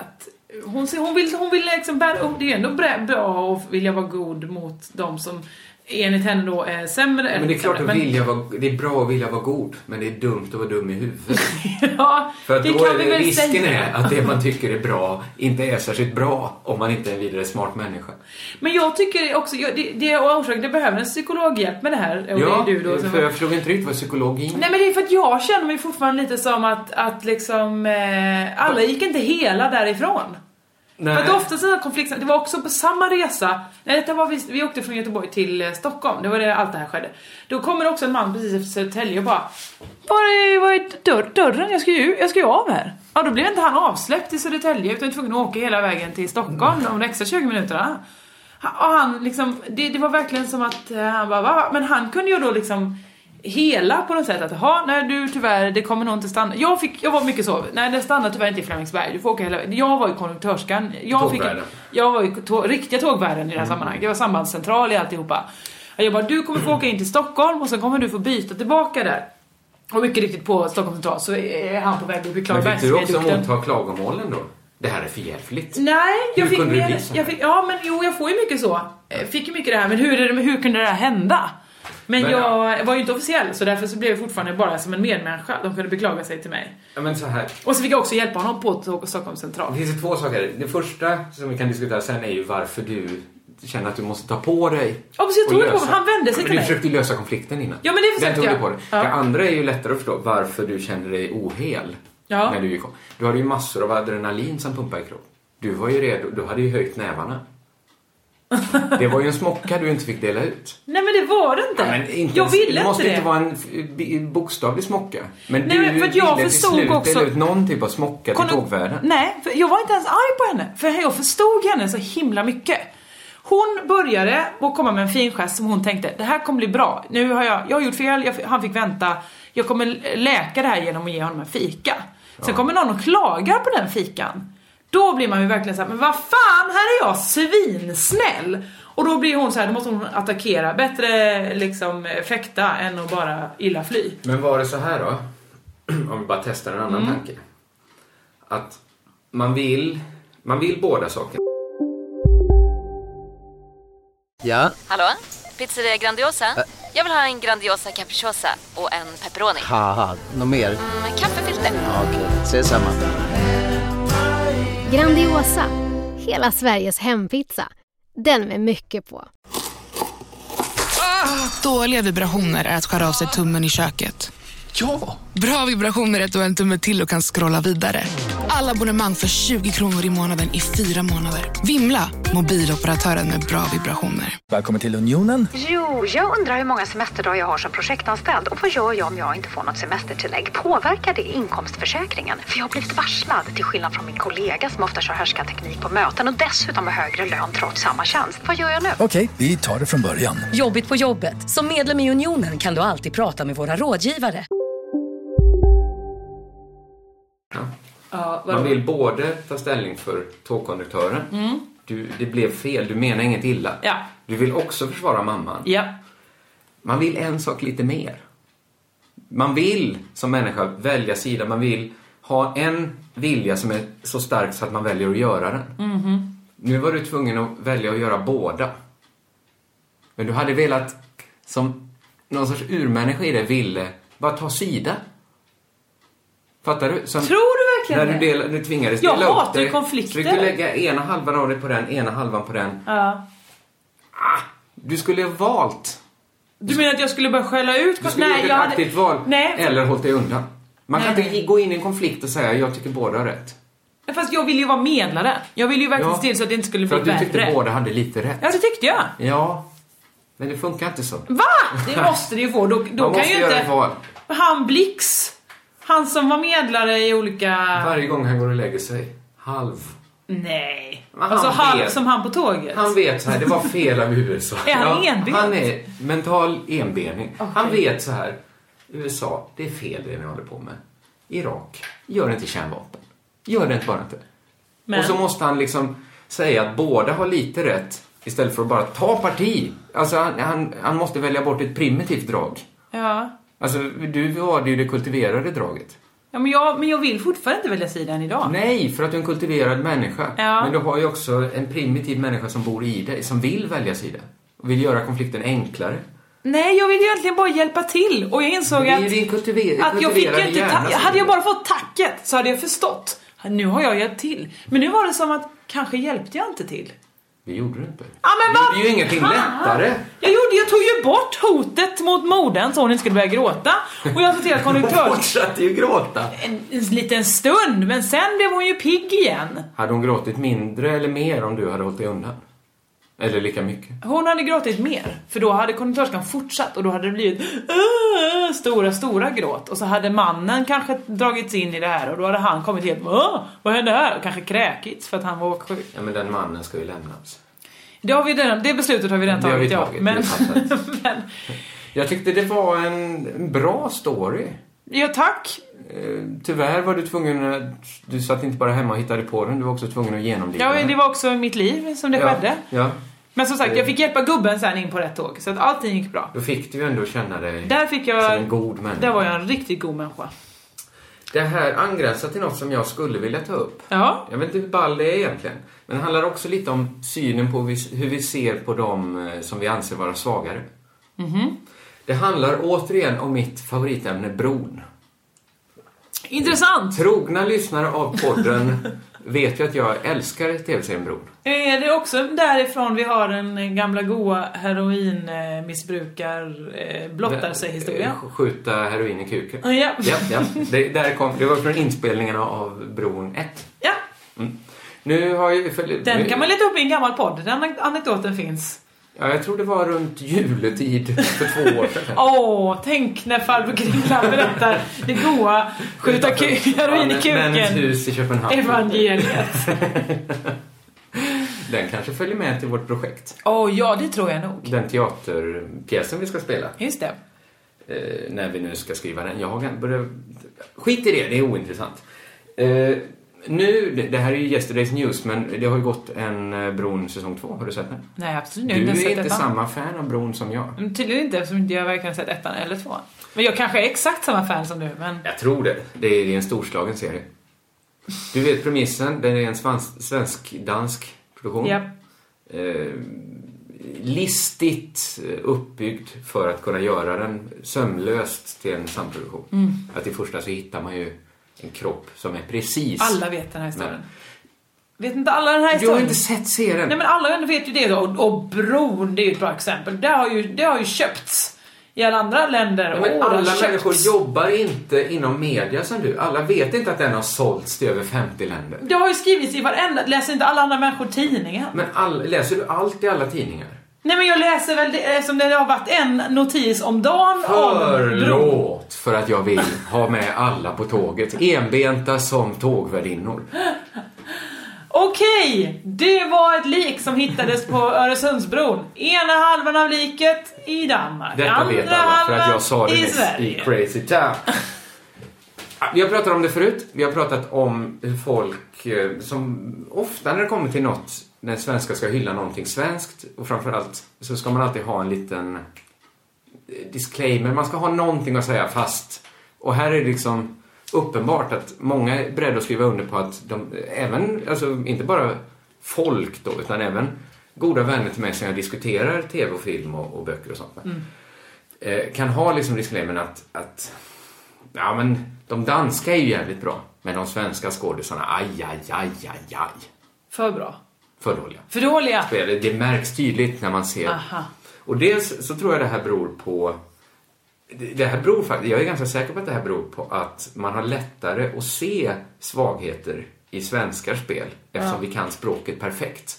S6: att Hon, ser- hon vill, hon vill liksom bära upp, det är ändå bra- bra att vilja vara god mot de som enligt henne då är sämre.
S5: Men det är klart
S6: sämre,
S5: att vilja vara, det är bra att vilja vara god, men det är dumt att vara dum i huvudet.
S6: <laughs> Ja,
S5: För att
S6: det
S5: då
S6: kan
S5: är
S6: vi
S5: det,
S6: väl
S5: risken
S6: säga.
S5: är att det man tycker är bra inte är särskilt bra om man inte är en vidare smart människa.
S6: Men jag tycker också, jag, det, det är orsaken, det behöver en psykologhjälp med det här. Och
S5: ja,
S6: det är du då som...
S5: för jag förstod inte riktigt vad psykologin...
S6: Nej men det är för att jag känner mig fortfarande lite som att, att liksom, eh, alla gick inte hela därifrån. För att ofta sådana konflikter, det var också på samma resa, nej det var vi, vi åkte från Göteborg till eh, Stockholm, det var det allt det här skedde. Då kommer också en man precis efter Södertälje och bara Var är, var är dörr, dörren? Jag ska ju, jag ska ju av här. Ja då blev inte han avsläppt i Södertälje utan tvungen att åka hela vägen till Stockholm de extra 20 minuterna. Ha- Och han liksom, det, det var verkligen som att eh, han bara va? Men han kunde ju då liksom hela på något sätt att ha nej du tyvärr det kommer nog inte stanna. Jag, fick, jag var mycket så, nej det stannar tyvärr inte i Flemingsberg, du får åka hela vägen. Jag var ju konduktörskan, jag, fick,
S5: Tågvärden. Mm.
S6: jag var ju tå, riktiga tågvärden i det här sammanhanget, jag var sambandscentral i alltihopa. Jag bara, du kommer få
S5: Mm.
S6: åka in till Stockholm och sen kommer du få byta tillbaka där. Och mycket riktigt på Stockholm central så är han på väg upp i
S5: Men fick du också
S6: Klarabergsviadukten.
S5: motta klagomålen då? Det här är för jävligt.
S6: Nej, jag
S5: Hur
S6: fick
S5: kunde det
S6: mer,
S5: bli så här?
S6: jag fick, ja men jo jag får ju mycket så. Eh, Fick ju mycket det här, men hur, är det, hur kunde det här hända? Men
S5: Men-
S6: jag var ju inte officiell så därför så blev jag fortfarande bara som en medmänniska. De kunde beklaga sig till mig.
S5: Ja, men så här.
S6: Och så fick jag också hjälpa honom på tå- Stockholm central.
S5: Det finns ju två saker. Det första som vi kan diskutera sen är ju varför du känner att du måste ta på dig
S6: Ja, precis, jag
S5: och
S6: tog det på
S5: lösa-
S6: mig. Han vände
S5: Ja,
S6: sig
S5: men
S6: till
S5: Du
S6: mig.
S5: försökte ju lösa konflikten innan.
S6: Ja, men det försökte
S5: Den tog
S6: jag.
S5: du på dig.
S6: Ja.
S5: Det andra är ju lättare att förstå varför du känner dig ohel
S6: Ja.
S5: när du gick om. Du hade ju massor av adrenalin som pumpade i kroppen. Du var ju redo. Du hade ju höjt nävarna. Det var ju en smocka du inte fick dela ut.
S6: Nej men det var det inte.
S5: Ja, men inte
S6: jag
S5: ens-
S6: ville
S5: det måste
S6: inte det.
S5: inte vara en f- bi- bokstavlig smocka. Men
S6: Nej,
S5: du
S6: men för att jag
S5: ville till
S6: förstod
S5: slut
S6: också-
S5: dela ut någon typ av smocka till
S6: Kolla-
S5: tågvärden.
S6: Nej, för jag var inte ens arg på henne. För jag förstod henne så himla mycket. Hon började att komma med en fin gest som hon tänkte, det här kommer bli bra. Nu har jag, jag har gjort fel, jag, han fick vänta. Jag kommer läka det här genom att ge honom en fika. Sen kommer någon och klagar på den fikan. Då blir man ju verkligen såhär, men vad fan, här är jag svinsnäll! Och då blir hon så här, då måste hon attackera. Bättre liksom fäkta än att bara illa fly.
S5: Men var det så här då? Om vi bara testar en annan
S6: Mm.
S5: tanke. Att man vill, man vill båda sakerna.
S4: Ja,
S7: Hallå? Pizzeria Grandiosa? Jag vill ha en Grandiosa capriciosa och en pepperoni.
S4: haha, något mer?
S7: Med kaffefilter.
S4: Ja, Okej, ses samma.
S8: Grandiosa, hela Sveriges hempizza. Den med mycket på.
S9: Dåliga vibrationer är att skära av sig tummen i köket.
S10: Ja!
S9: Bra vibrationer är att du har en tumme till och kan scrolla vidare. Alla abonnemang för 20 kronor i månaden i fyra månader. Vimla! Mobiloperatören med bra vibrationer.
S10: Välkommen till Unionen.
S11: Jo, jag undrar hur många semesterdagar jag har som projektanställd och vad gör jag om jag inte får något semestertillägg? Påverkar det inkomstförsäkringen? För jag har blivit varslad, till skillnad från min kollega som ofta kör härskarteknik på möten och dessutom har högre lön trots samma tjänst. Vad gör jag nu?
S10: Okej, vi tar det från början.
S1: Jobbigt på jobbet. Som medlem i Unionen kan du alltid prata med våra rådgivare.
S6: Ja, vadå?
S5: Man vill både ta ställning för tågkonduktören. Du, det blev fel, du menar inget illa.
S6: Mm. Ja.
S5: Du vill också försvara mamman.
S6: Ja.
S5: Man vill en sak lite mer. Man vill som människa välja sida. Man vill ha en vilja som är så stark så att man väljer att göra den.
S6: Mm-hmm.
S5: Nu var du tvungen att välja att göra båda. Men du hade velat, som någon sorts urmänniska i dig ville, bara ta sida. Fattar du? Som
S6: Tror du verkligen
S5: när du,
S6: det?
S5: del, du tvingades
S6: Jag
S5: dela upp
S6: hatar ju
S5: dig,
S6: konflikter.
S5: Så fick du lägga ena halvan av dig på den, ena halvan på den.
S6: Ja.
S5: Du skulle ha valt
S6: Du menar att jag skulle börja skälla ut?
S5: Du skulle gjort ett aktivt val
S6: Nej,
S5: eller hållit dig undan. Man kan
S6: Nej.
S5: inte gå in i en konflikt och säga jag tycker båda har rätt.
S6: fast jag ville ju vara medlare. Jag ville ju verkligen
S5: Ja.
S6: se till så att det inte skulle
S5: För
S6: bli
S5: att du tyckte
S6: bättre.
S5: båda hade lite rätt.
S6: Ja, det tyckte jag.
S5: Ja, men det funkar inte så.
S6: Va? Det måste det ju få. Då, då
S5: Man
S6: kan
S5: måste
S6: ju
S5: göra ett
S6: inte...
S5: val.
S6: Han Blix. Han som var medlare i olika...
S5: Varje gång han går och lägger sig. Halv.
S6: Nej.
S5: Men
S6: alltså
S5: han
S6: han
S5: vet.
S6: som han på tåget.
S5: Han vet så här, det var fel av
S6: <laughs>
S5: USA.
S6: Är han enbent?
S5: Han är mental enbening. Han vet så här, USA, det är fel det ni håller på med. Irak, gör inte kärnvapen. Gör det inte bara inte.
S6: Men-
S5: Och så måste han liksom säga att båda har lite rätt istället för att bara ta parti. Alltså han, han, han måste välja bort ett primitivt drag.
S6: Ja.
S5: Alltså du valde ju det kultiverade draget.
S6: Ja, men, jag, men jag vill fortfarande inte välja sida än idag.
S5: Nej, för att du är en kultiverad människa.
S6: Ja.
S5: Men du har ju också en primitiv människa som bor i dig, som vill välja sida. Och vill göra konflikten enklare.
S6: Nej, jag vill egentligen bara hjälpa till. Och jag insåg
S5: Det är
S6: att,
S5: ju din kultiver-
S6: att jag fick ju
S5: kultiverade
S6: inte
S5: hjärna
S6: ta-
S5: som
S6: Hade jag
S5: gör
S6: bara fått tacket så hade jag förstått. Nu har jag hjälpt till. Men nu var det som att kanske hjälpte jag inte till.
S5: Det gjorde du inte.
S6: Ja, men
S5: Du
S6: vad Ah.
S5: gjorde ju ingenting
S6: fan!
S5: lättare.
S6: Jag, gjorde, jag tog ju bort hotet mot modern så hon inte skulle börja gråta. Och jag sa till
S5: Hon
S6: konduktören
S5: fortsatte ju gråta.
S6: en, en liten stund, men sen blev hon ju pigg igen.
S5: Hade hon gråtit mindre eller mer om du hade hållit dig undan? Eller lika mycket?
S6: Hon hade gråtit mer, för då hade konduktörskan fortsatt och då hade det blivit "Åh", stora, stora gråt. Och så hade mannen kanske dragits in i det här och då hade han kommit helt "Åh, Vad hände här? Och kanske kräkits för att han var åksjuk.
S5: Ja, men den mannen ska ju lämnas.
S6: Det, har vi redan, det beslutet har vi redan
S5: Det har
S6: tagit,
S5: vi
S6: ja.
S5: tagit,
S6: <laughs> Men,
S5: det är Jag tyckte det var en en bra story.
S6: ja tack.
S5: Eh, Tyvärr var du tvungen att... Du satt inte bara hemma och hittade på den, du var också tvungen att genomlida
S6: Ja,
S5: den.
S6: det var också i mitt liv som det
S5: ja,
S6: skedde.
S5: Ja,
S6: Men som sagt, jag fick hjälpa gubben sen in på rätt tåg. Så att allting gick bra.
S5: då fick du ju ändå känna dig
S6: Där fick
S5: som
S6: jag...
S5: en god människa.
S6: Där var jag en riktigt god människa.
S5: Det här angränsar till något som jag skulle vilja ta upp.
S6: Ja.
S5: Jag vet inte hur ball det är egentligen. Men det handlar också lite om synen på vi- hur vi ser på de eh, som vi anser vara svagare.
S6: Mhm.
S5: Det handlar återigen om mitt favoritämne, bron.
S6: Intressant!
S5: Trogna lyssnare av
S6: <laughs>
S5: podden vet ju att jag älskar tv-serien Bron.
S6: Är det också därifrån vi har den gamla goa heroinmissbrukar eh, blottar sig historien?
S5: Eh, Skjuta heroin i kuken.
S6: Ja. Ja.
S5: Ja, ja. Det, där kom, det var från inspelningarna av Bron 1. Nu har ju... För,
S6: Den
S5: nu,
S6: kan man leta upp i en gammal podd. Den anek- anekdoten finns.
S5: ja, jag tror det var runt juletid för två år
S6: <laughs>
S5: sedan.
S6: Åh, tänk när farbror Kringland berättar det goa skjuta ku- heroin i
S5: Ja, Männens
S6: kuken.
S5: hus i Köpenhamn.
S6: Evangeliet.
S5: Den kanske följer med till vårt projekt.
S6: Åh, ja det tror jag nog.
S5: Den teaterpjäsen vi ska spela.
S6: Just det.
S5: Eh, när vi nu ska skriva den. Jag har börjat... Skit i det, det är ointressant. Eh, nu, det- det här är ju Yesterday's News, men det har ju gått en eh, Bron säsong två. Har du sett den?
S6: Nej, absolut
S5: Du
S6: ens
S5: är
S6: sett
S5: inte
S6: ettan.
S5: samma fan av Bron som jag.
S6: Men Tydligen inte eftersom inte jag verkligen sett ettan eller tvåan. Men jag kanske är exakt samma fan som du, men...
S5: Jag tror det. Det är det är en storslagen serie. Du vet premissen, den är en svans- svensk-dansk produktion.
S6: Japp.
S5: eh, listigt eh, uppbyggd för att kunna göra den sömlöst till en samproduktion.
S6: Mm.
S5: Att i första så hittar man ju en kropp som är precis...
S6: Alla vet den här historien.
S5: Men-
S6: Vet inte alla den här
S5: Jag har
S6: historien?
S5: inte sett serien.
S6: Nej men alla vet ju det och, och bron, det är ju ett bra exempel. Det har ju, det har ju köpts i alla andra länder.
S5: Nej, men
S6: och
S5: alla
S6: köpts.
S5: människor jobbar inte inom media som du. Alla vet inte att den har sålts till över 50 länder.
S6: Det har ju skrivits i varenda, läser inte alla andra människor tidningen?
S5: Men all, läser du allt i alla tidningar?
S6: Nej men jag läser väl det, eftersom det har varit en notis om dagen om bron.
S5: Förlåt för att jag vill ha med alla på tåget. Enbenta som tågvärdinnor.
S6: Okej, det var ett lik som
S5: <laughs>
S6: hittades på Öresundsbron. Ena halvan av liket i Danmark.
S5: Detta
S6: andra
S5: vet alla för att
S6: halvan
S5: jag sa det
S6: i
S5: nyss
S6: Sverige.
S5: i Crazy Town.
S6: <laughs>
S5: Vi har pratat om det förut. Vi har pratat om hur folk eh, som ofta när det kommer till något, när svenskar ska hylla någonting svenskt och framförallt så ska man alltid ha en liten eh, disclaimer. Man ska ha någonting att säga fast. Och här är det liksom uppenbart att många är beredda att skriva under på att de, även, alltså inte bara folk då, utan även goda vänner till mig som jag diskuterar tv och film och, och böcker och
S6: Mm.
S5: sånt med eh, kan ha liksom disclaimern att, att ja, men de danska är ju jävligt bra, men de svenska skådisarna, aj, aj, aj, aj, aj,
S6: För bra.
S5: för dåliga.
S6: För dåliga.
S5: Det det märks tydligt när man ser.
S6: Aha.
S5: Och dels så tror jag det här beror på det det här beror faktiskt, jag är ganska säker på att det här beror på att man har lättare att se svagheter i svenskars spel eftersom vi kan språket perfekt.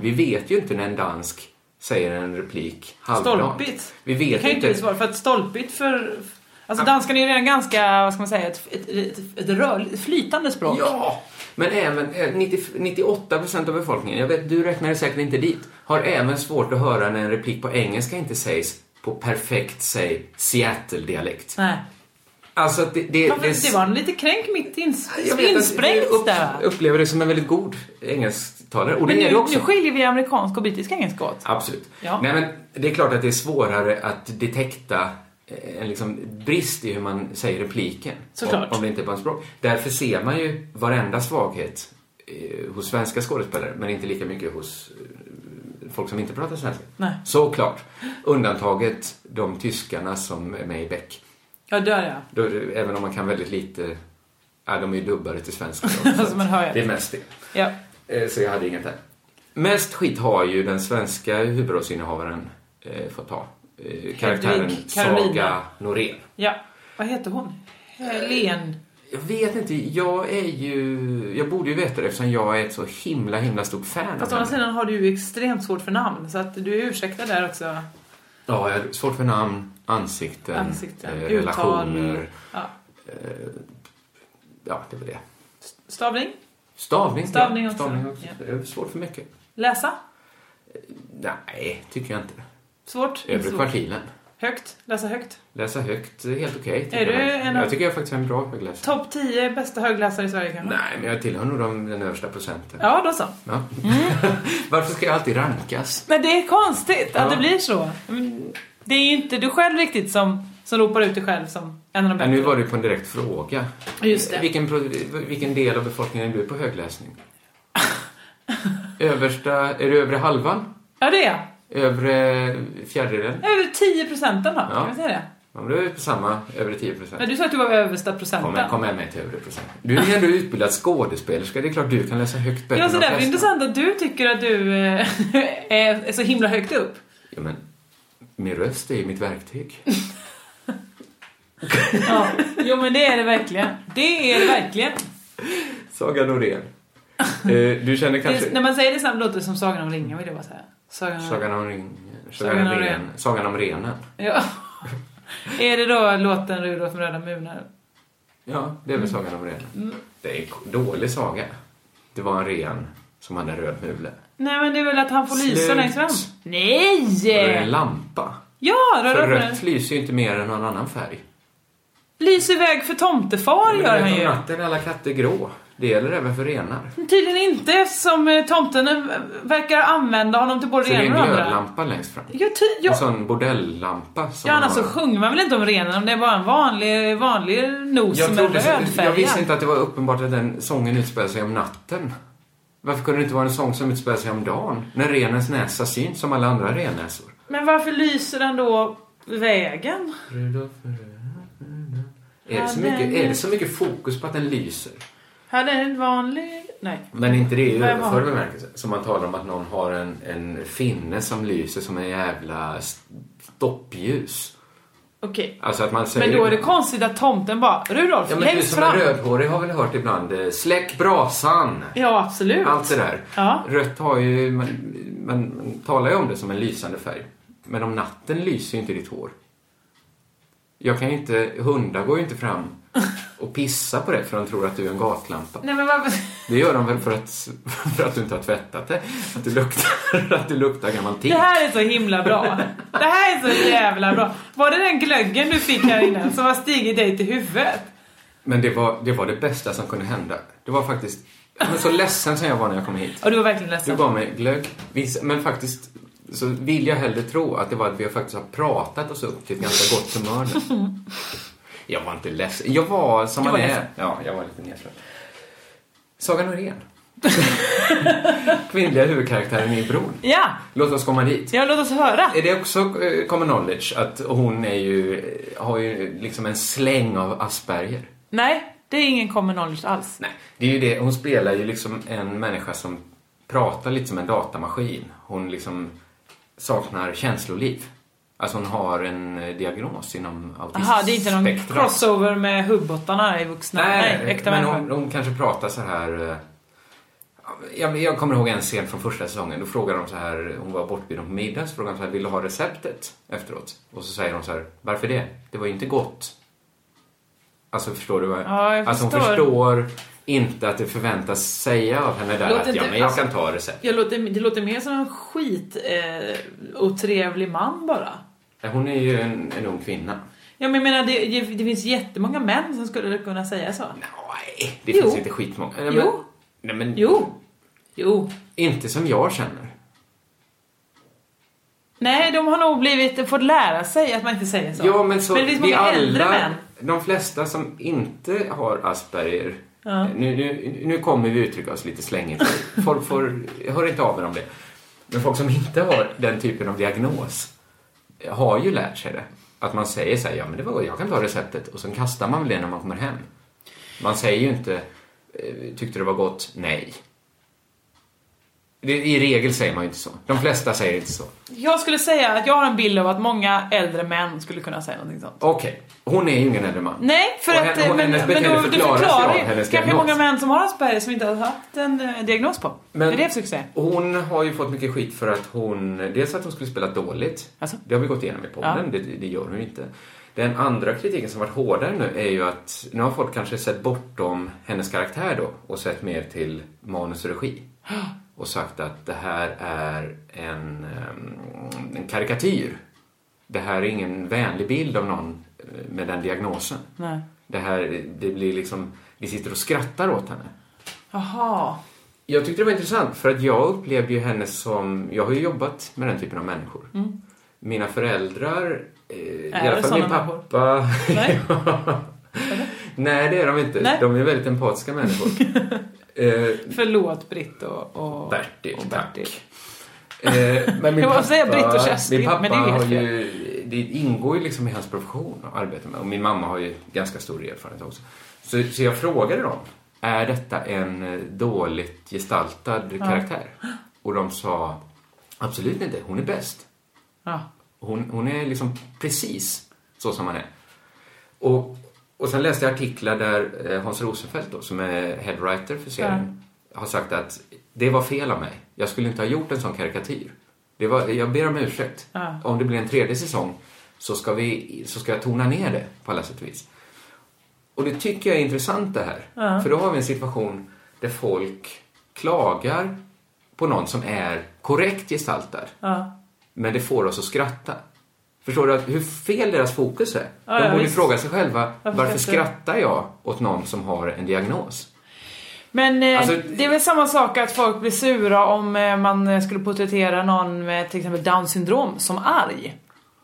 S5: Vi vet ju inte när en dansk säger en replik halvdant.
S6: Stolpigt.
S5: Vi
S6: Det
S5: vet
S6: kan ju inte
S5: inte.
S6: bli svårt för att stolpigt för... Alltså danskan är ju redan ganska, vad ska man säga, ett, ett, ett, ett rör, ett flytande språk.
S5: Ja! Men även eh, 90, 98% av befolkningen, jag vet, du räknar säkert inte dit, har även svårt att höra när en replik på engelska inte sägs på perfekt, säg, Seattle-dialekt.
S6: Nej.
S5: Alltså, att det, det,
S6: Varför- Det var en lite kränk mitt ins, insprängt
S5: jag upp,
S6: där. va?
S5: upplever det som en väldigt god engelsktalare. Och det
S6: Men
S5: är
S6: nu,
S5: det också.
S6: nu skiljer vi amerikansk och brittisk engelska åt.
S5: Absolut.
S6: Ja.
S5: Nej, men det är klart att det är svårare att detekta en liksom brist i hur man säger repliken. Om,
S6: Såklart.
S5: om det inte är på en språk. Därför ser man ju varenda svaghet eh, hos svenska skådespelare men inte lika mycket hos eh, folk som inte pratar svenska.
S6: Nej.
S5: Såklart. Undantaget de tyskarna som är med i Beck.
S6: Ja, där ja.
S5: Då, är det- även om man kan väldigt lite... Ja, de är ju dubbade till svenska. då,
S6: <laughs>
S5: så
S6: Alltså, man hör ju.
S5: att det är mest det.
S6: Ja.
S5: Eh, Så jag hade inget där. Mest skit har ju den svenska huvudrollsinnehavaren eh, fått ta. Eh, karaktären
S6: Hedvig
S5: Saga
S6: Carolina.
S5: Norén.
S6: ja. Vad heter hon? Helen.
S5: Jag vet inte, jag är ju... Jag borde ju veta det eftersom jag är ett så himla, himla stort fan
S6: Fast å
S5: av henne.
S6: andra sidan har du ju extremt svårt för namn så att du är ursäktad där också.
S5: Ja, jag har svårt för namn, ansikten,
S6: Ansikten,
S5: eh,
S6: uttal.
S5: relationer.
S6: Ja.
S5: Eh, ja, det var det.
S6: Stavning?
S5: Stavning,
S6: Stavning
S5: ja.
S6: också,
S5: Stavning också. Det är svårt för mycket.
S6: Läsa?
S5: Nej, tycker jag inte.
S6: Svårt? Inte
S5: Övre
S6: svårt.
S5: kvartilen.
S6: Högt? Läsa högt?
S5: Läsa högt, är helt okej. tycker
S6: Är du
S5: jag.
S6: en av-
S5: jag tycker jag faktiskt är en bra högläsare.
S6: Topp 10 bästa högläsare i Sverige kanske?
S5: Nej, men jag tillhör nog de, den översta procenten.
S6: Ja, då så.
S5: Ja.
S6: Mm.
S5: <laughs> Varför ska jag alltid rankas?
S6: Men det är konstigt att
S5: Ja.
S6: det blir så. Mm, Det är ju inte du själv riktigt som, som ropar ut dig själv som en av
S5: Nej,
S6: de bättre.
S5: nu var det på en direkt fråga.
S6: Just det.
S5: Vilken, pro- vilken del av befolkningen är du på högläsning? Översta, är du övre halvan?
S6: Ja, det är jag.
S5: Övre fjärdedelen?
S6: Över 10 procenten då,
S5: Ja.
S6: kan vi säga det?
S5: Ja, men du är vi på samma, övre 10
S6: Men
S5: procent.
S6: du sa att du var översta procenten.
S5: Kom, med- kom med mig till övre procent. Du är ju ändå utbildad skådespelerska, det är klart du kan läsa högt bättre
S6: Ja, så
S5: än
S6: det
S5: de
S6: är
S5: flesta.
S6: intressant att du tycker att du eh, <laughs> är är så himla högt upp.
S5: Ja, men min röst är ju mitt verktyg.
S6: Ja. Jo men det är det verkligen. Det är det verkligen.
S5: Saga Norén. Eh, du känner kanske...
S6: Det, när man säger det snabbt låter det som Sagan om ringen, vill jag bara säga. Sagan om
S5: Sagan om ringen. Sagan,
S6: Sagan
S5: om
S6: om
S5: ren. Sagan om renen. <laughs>
S6: Ja. Är det då låten Rudolf med röda munnen?
S5: Ja, det är
S6: Mm.
S5: väl Sagan om renen. Det är en dålig saga. Det var en ren som hade en röd mule.
S6: Nej men det är väl att han får lysa
S5: Slut.
S6: längst fram?
S5: Och det är en
S6: Nej!
S5: lampa.
S6: Ja,
S5: För
S6: röda munnen.
S5: rött lyser ju inte mer än någon annan färg.
S6: Lys iväg för tomtefar
S5: Men
S6: gör
S5: du
S6: han
S5: vet, om
S6: ju.
S5: natten är alla katter grå. Det gäller även för renar.
S6: Tydligen inte eftersom eh, tomten eh, verkar använda honom till både
S5: Så det är
S6: det
S5: en
S6: ena och det andra.
S5: glödlampa Alltså, längst fram.
S6: Ja, ty- ja.
S5: En sån bordellampa. Som
S6: Ja, alltså
S5: man
S6: annars så
S5: har.
S6: sjunger man väl inte om renen om det är bara en vanlig, vanlig nos
S5: jag,
S6: som är
S5: trodde- jag
S6: rödfärgad.
S5: visste inte att det var uppenbart att den sången utspelar sig om natten. Varför kunde det inte vara en sång som utspelar sig om dagen? När renens näsa syns som alla andra rennäsor.
S6: Men varför lyser den då vägen?
S5: Är det, så mycket, är det så mycket fokus på att den lyser?
S6: Här är en vanlig... Nej.
S5: Men inte det i
S6: Vad är
S5: överförd
S6: vanligt?
S5: bemärkelse. Som man talar om att någon har en, en finne som lyser som en jävla stoppljus.
S6: Okej.
S5: Alltså att man säger...
S6: Men då är det konstigt att tomten bara Rudolf,
S5: Ja, men du
S6: längst
S5: som är
S6: fram.
S5: rödhårig har väl hört ibland eh, släck brasan.
S6: Ja, absolut.
S5: Allt det där.
S6: Ja.
S5: Rött har ju, man, man, man talar ju om det som en lysande färg. Men om natten lyser ju inte ditt hår. Jag kan ju inte, hundar går ju inte fram och pissar på dig för de tror att du är en gatlampa.
S6: Nej men varför...
S5: Det gör de väl för att, <laughs> för att du inte har tvättat det. Att du luktar, <laughs> att du luktar gammal
S6: Det
S5: tik.
S6: här är så himla bra. Det här är så jävla bra. Var det den glöggen du fick här innan som har stigit dig till huvudet?
S5: Men det var, det var det bästa som kunde hända. Det var faktiskt, jag var så ledsen som jag var när jag kom hit.
S6: Och du var verkligen
S5: Du
S6: ledsen.
S5: gav mig glögg. Visst, Men faktiskt så vill jag hellre tro att det var att vi faktiskt har pratat oss upp till ett ganska gott humör nu. <laughs> Jag var inte ledsen. Jag var som
S6: Du
S5: man
S6: var
S5: är.
S6: ledsen.
S5: Ja, jag var lite nedslått. Saga Norén. <laughs> Kvinnliga huvudkaraktären i Bron.
S6: Ja,
S5: Låt oss komma dit.
S6: ja låt oss höra.
S5: Är det också eh, common knowledge att hon är ju, har ju liksom en släng av Asperger?
S6: Nej, det är ingen common knowledge alls.
S5: Nej, det är ju det. Hon spelar ju liksom en människa som pratar lite som en datamaskin. Hon liksom saknar känsloliv. Alltså hon har en eh, diagnos inom
S6: Jaha, det är inte någon
S5: autismspektrat.
S6: crossover med hubbottarna i vuxna... Nej, äkta
S5: men
S6: människor.
S5: hon, hon kanske pratar så här... eh, Jag, jag kommer ihåg en scen från första säsongen. Då frågar de så här, hon var bortbjuden på middag, så frågar de så här, vill du ha receptet efteråt? Och så säger de så här, varför det? Det var ju inte gott. Alltså förstår du? vad-
S6: Ja, jag
S5: alltså hon
S6: förstår.
S5: förstår inte att det förväntas säga av henne där
S6: Låt
S5: att
S6: inte-
S5: ja, men jag
S6: alltså-
S5: kan ta recept.
S6: Jag låter, det låter mer som en skit eh, otrevlig man bara.
S5: Nej, Hon är ju en, en ung kvinna.
S6: Ja, men jag menar, det, det- det finns jättemånga män som skulle kunna säga så.
S5: Nej, det
S6: Jo.
S5: finns inte skitmånga. Nej, men-
S6: Jo.
S5: Nej, men
S6: Jo. Jo.
S5: inte som jag känner.
S6: Nej, de har nog blivit, fått lära sig att man inte säger så.
S5: Ja, men så
S6: det finns
S5: vi
S6: många äldre
S5: alla,
S6: män.
S5: de flesta som inte har Asperger
S6: Ja.
S5: nu, nu, nu kommer vi uttrycka oss lite slängigt. Folk får, hör inte av er om det. Men folk som inte har den typen av diagnos har ju lärt sig det. Att man säger så här, ja men det var, jag kan ta receptet och sen kastar man väl det när man kommer hem. Man säger ju inte, eh, tyckte det var gott, nej. Det, I regel säger man ju inte så. De flesta säger inte så.
S6: Jag skulle säga att jag har en bild av att många äldre män skulle kunna säga någonting sånt.
S5: Okej, hon är ju ingen äldre man.
S6: Nej, för
S5: Och
S6: att...
S5: henne- och
S6: men
S5: hennes
S6: men
S5: beteende
S6: då, du
S5: förklaras ju av
S6: förklarar ju.
S5: hennes
S6: Kanske
S5: diagnos.
S6: många män som har Asperger som inte har haft en eh, diagnos på.
S5: Men-
S6: det är det jag försöker säga.
S5: Hon har ju fått mycket skit för att hon, dels att hon skulle spela dåligt.
S6: Alltså?
S5: Det har vi gått igenom i podden, det, det gör hon ju inte. Den andra kritiken som varit hårdare nu är ju att nu har folk kanske sett bortom hennes karaktär då och sett mer till manus och
S6: <gasps>
S5: regi. Och sagt att det här är en, ehm, en karikatyr. Det här är ingen vänlig bild av någon eh, med den diagnosen.
S6: Nej.
S5: Det här, det blir liksom, vi sitter och skrattar åt henne.
S6: Jaha.
S5: Jag tyckte det var intressant för att jag upplevde ju henne som, jag har ju jobbat med den typen av människor.
S6: Mm.
S5: Mina föräldrar, eh, i
S6: Är
S5: alla
S6: det
S5: fall min
S6: såna människor?
S5: pappa. <laughs>
S6: Nej.
S5: Nej, det är de inte.
S6: Nej.
S5: De är väldigt empatiska
S6: <laughs>
S5: människor. eh,
S6: Förlåt Britt och... och...
S5: Bertil, tack. Eh, men min
S6: <laughs> Jag
S5: pappa,
S6: måste säga Britt och Kerstin,
S5: min pappa
S6: men det är ju
S5: har
S6: helt
S5: ju, det ingår ju liksom i hans profession att arbeta med och min mamma har ju ganska stor erfarenhet också. Så, så jag frågade dem, är detta en eh, dåligt gestaltad
S6: Ja.
S5: karaktär? Och de sa, absolut inte, hon är bäst.
S6: Ja.
S5: Hon, hon är liksom precis så som man är. Och, och sen läste jag artiklar där eh, Hans Rosenfeldt då, som är headwriter för serien, har sagt att det var fel av mig. Jag skulle inte ha gjort en sån karikatyr. Det var, jag ber om ursäkt.
S6: Ja.
S5: Om det blir en tredje säsong så ska, vi, så ska jag tona ner det på alla sätt och vis. Och det tycker jag är intressant det här.
S6: Ja.
S5: För då har vi en situation där folk klagar på någon som är korrekt gestaltad
S6: Ja.
S5: men det får oss att skratta. Förstår du att hur fel deras fokus är?
S6: Ja,
S5: De
S6: ja,
S5: borde
S6: visst.
S5: fråga sig själva,
S6: Varför
S5: varför,
S6: skrattar-
S5: skrattar jag åt någon som har en diagnos?
S6: Men eh,
S5: Alltså-
S6: det är väl samma sak att folk blir sura om eh, man eh, skulle porträttera någon med till exempel down syndrom som arg.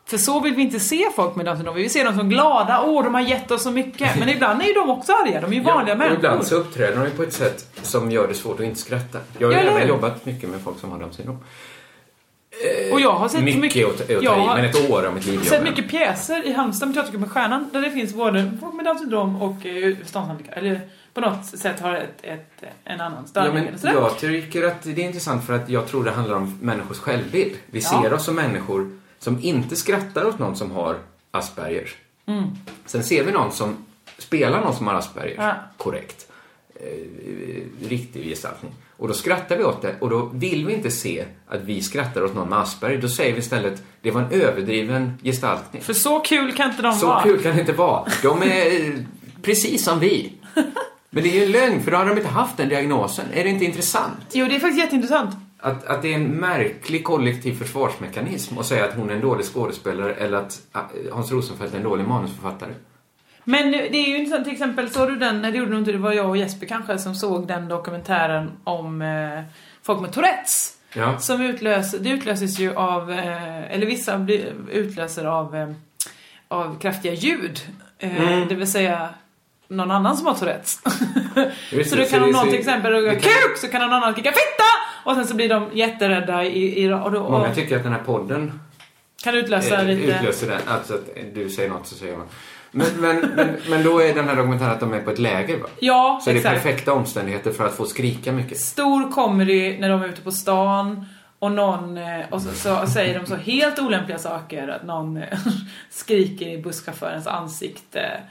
S6: För så vill vi inte se folk med down syndrom. Vi vill se dem som glada, åh de har gett oss så mycket. Men ibland är ju de också arga, de är ju vanliga
S5: och
S6: människor.
S5: ibland så uppträder de ju på ett sätt som gör det svårt att inte skratta. Jag har
S6: Ja,
S5: ju
S6: eller
S5: gärna
S6: hur?
S5: jobbat mycket med folk som har Downs syndrom.
S6: Och jag har sett
S5: mycket
S6: mycket-
S5: är att, är att
S6: jag
S5: ta i,
S6: har-
S5: men ett år av mitt liv
S6: Jag har sett mycket pjäser i Halmstad med Teatergruppen med Stjärnan där det finns både folk med down syndrom och eh, förståndshandikapp. Eller på något sätt har ett, ett, en annan
S5: Ja,
S6: störning.
S5: men
S6: eller sådär.
S5: jag tycker att det är intressant för att jag tror det handlar om människors självbild. Vi
S6: Ja.
S5: ser oss som människor som inte skrattar åt någon som har Aspergers.
S6: Mm.
S5: Sen ser vi någon som spelar någon som har Asperger
S6: Ja.
S5: korrekt. Eh, riktig gestaltning. Och då skrattar vi åt det och då vill vi inte se att vi skrattar åt någon med Asperger. Då säger vi istället det var en överdriven gestaltning.
S6: För så kul kan inte de
S5: Så
S6: vara.
S5: kul kan det inte vara. De är eh, precis som
S6: <laughs>
S5: vi. Men det är ju en lögn för då har de inte haft den diagnosen. Är det inte intressant?
S6: Jo, det är faktiskt jätteintressant.
S5: Att, att det är en märklig kollektiv försvarsmekanism att säga att hon är en dålig skådespelare eller att eh, Hans Rosenfeldt är en dålig manusförfattare.
S6: Men det är ju intressant, till exempel såg du den, nej, det gjorde nog inte, det var jag och Jesper kanske som såg den dokumentären om eh, folk med Tourettes.
S5: Ja.
S6: Som utlös, det utlöses ju av, eh, eller vissa blir, utlöser av, eh, av kraftiga ljud. Eh,
S5: Mm.
S6: Det vill säga någon annan som har Tourettes.
S5: Just
S6: <laughs> så
S5: det,
S6: då kan
S5: det-
S6: om någon
S5: så-
S6: till exempel råkar
S5: det kan-
S6: kuk så kan någon annan kicka fitta! Och sen så blir de jätterädda i, i och då
S5: Många
S6: och
S5: tycker att den här podden
S6: kan utlösa
S5: eh,
S6: lite...
S5: utlöser den. Alltså att du säger något så säger jag något. Men, men, men, men då är den här dokumentären att de är på ett läger va?
S6: Ja,
S5: Så det är
S6: exakt.
S5: perfekta omständigheter för att få skrika mycket.
S6: stor comedy när de är ute på stan och någon eh, och så, så säger de så helt olämpliga saker att någon eh, <laughs> skriker i busschaufförens ansikte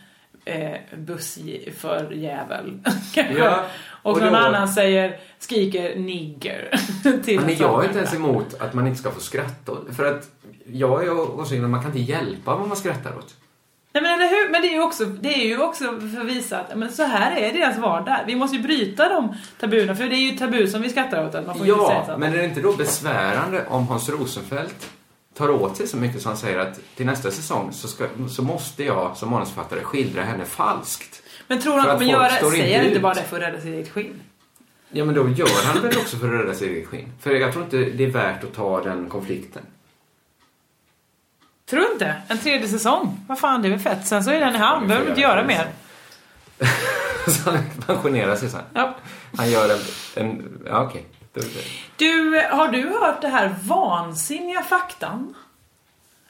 S6: eh, <laughs> bussförjävel kanske.
S5: Ja,
S6: och,
S5: och
S6: någon
S5: då-
S6: annan säger skriker nigger <laughs> till
S5: Men jag är inte ens
S6: andra.
S5: emot att man inte ska få skratta åt- För att jag är av åsikten att man kan inte hjälpa vad man skrattar åt.
S6: Nej men eller hur? Men det är ju också, det är ju också för att visa att men så här är deras vardag. Vi måste ju bryta de tabuerna för det är ju tabu som vi skrattar åt att man får inte säga
S5: Ja,
S6: sånt.
S5: men är det inte då besvärande om Hans Rosenfeldt tar åt sig så mycket som han säger att till nästa säsong så, ska, så måste jag som manusförfattare skildra henne falskt?
S6: Men tror du han
S5: För att
S6: kommer
S5: folk
S6: göra,
S5: står inte
S6: säger han inte
S5: ut.
S6: bara det för att rädda sitt eget skinn?
S5: Ja, men då gör han väl också för att rädda sitt eget skinn. För jag tror inte det är värt att ta den konflikten. <laughs>
S6: Tror du inte? En tredje säsong? Vad fan, det är väl fett. Sen så är den i hamn. Behöver inte göra mer.
S5: Så han pensionerar sig sen.
S6: Ja.
S5: Han gör en... en ja, okej. Då-
S6: Du, eh, har du hört det här vansinniga faktan?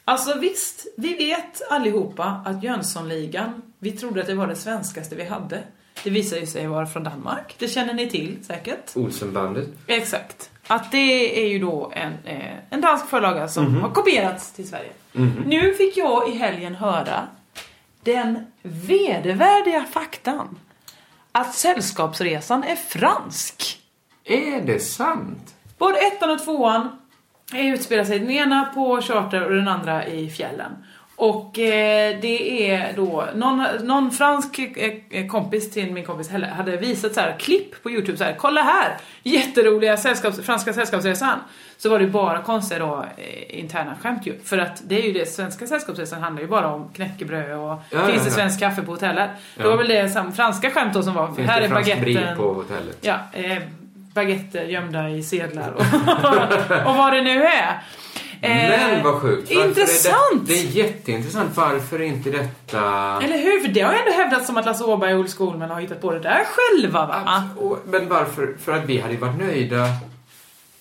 S6: Alltså visst, vi vet allihopa att Jönssonligan, vi trodde att det var det svenskaste vi hade. Det visar ju sig vara från Danmark. Det känner ni till säkert.
S5: Olsenbandet.
S6: Exakt. Att det är ju då en, eh, en dansk förlaga som
S5: Mhm.
S6: har kopierats till Sverige. Nu fick jag i helgen höra den vedervärdiga faktan att Sällskapsresan är fransk.
S5: Är det sant?
S6: Både ettan och tvåan eh, utspelar sig, den ena på charter och den andra i fjällen. Och eh, det är då, någon, någon fransk eh, eh, kompis till min kompis Helle hade visat så här klipp på youtube så här, kolla här! Jätteroliga sällskaps, franska sällskapsresan. Så var det bara konstiga då, eh, interna skämt ju. För att det är ju det, svenska sällskapsresan handlar ju bara om knäckebröd och
S5: ja,
S6: finns det
S5: ja.
S6: svensk kaffe på hotellet. Det
S5: Ja.
S6: var väl det sam, franska skämt då som var,
S5: Finns
S6: här
S5: det
S6: är
S5: fransk
S6: baguetten.
S5: brie på hotellet?
S6: Ja, eh, baguetter gömda i sedlar och, <laughs> och vad det nu är. Eh,
S5: Men vad sjukt! Varför är Det,
S6: Intressant!
S5: det är jätteintressant. Varför är inte detta...
S6: Eller hur? För det har ju ändå hävdats som att Lasse Åberg och Olle Skolman har hittat på det där själva va?
S5: Och, men varför? För att vi hade ju varit nöjda.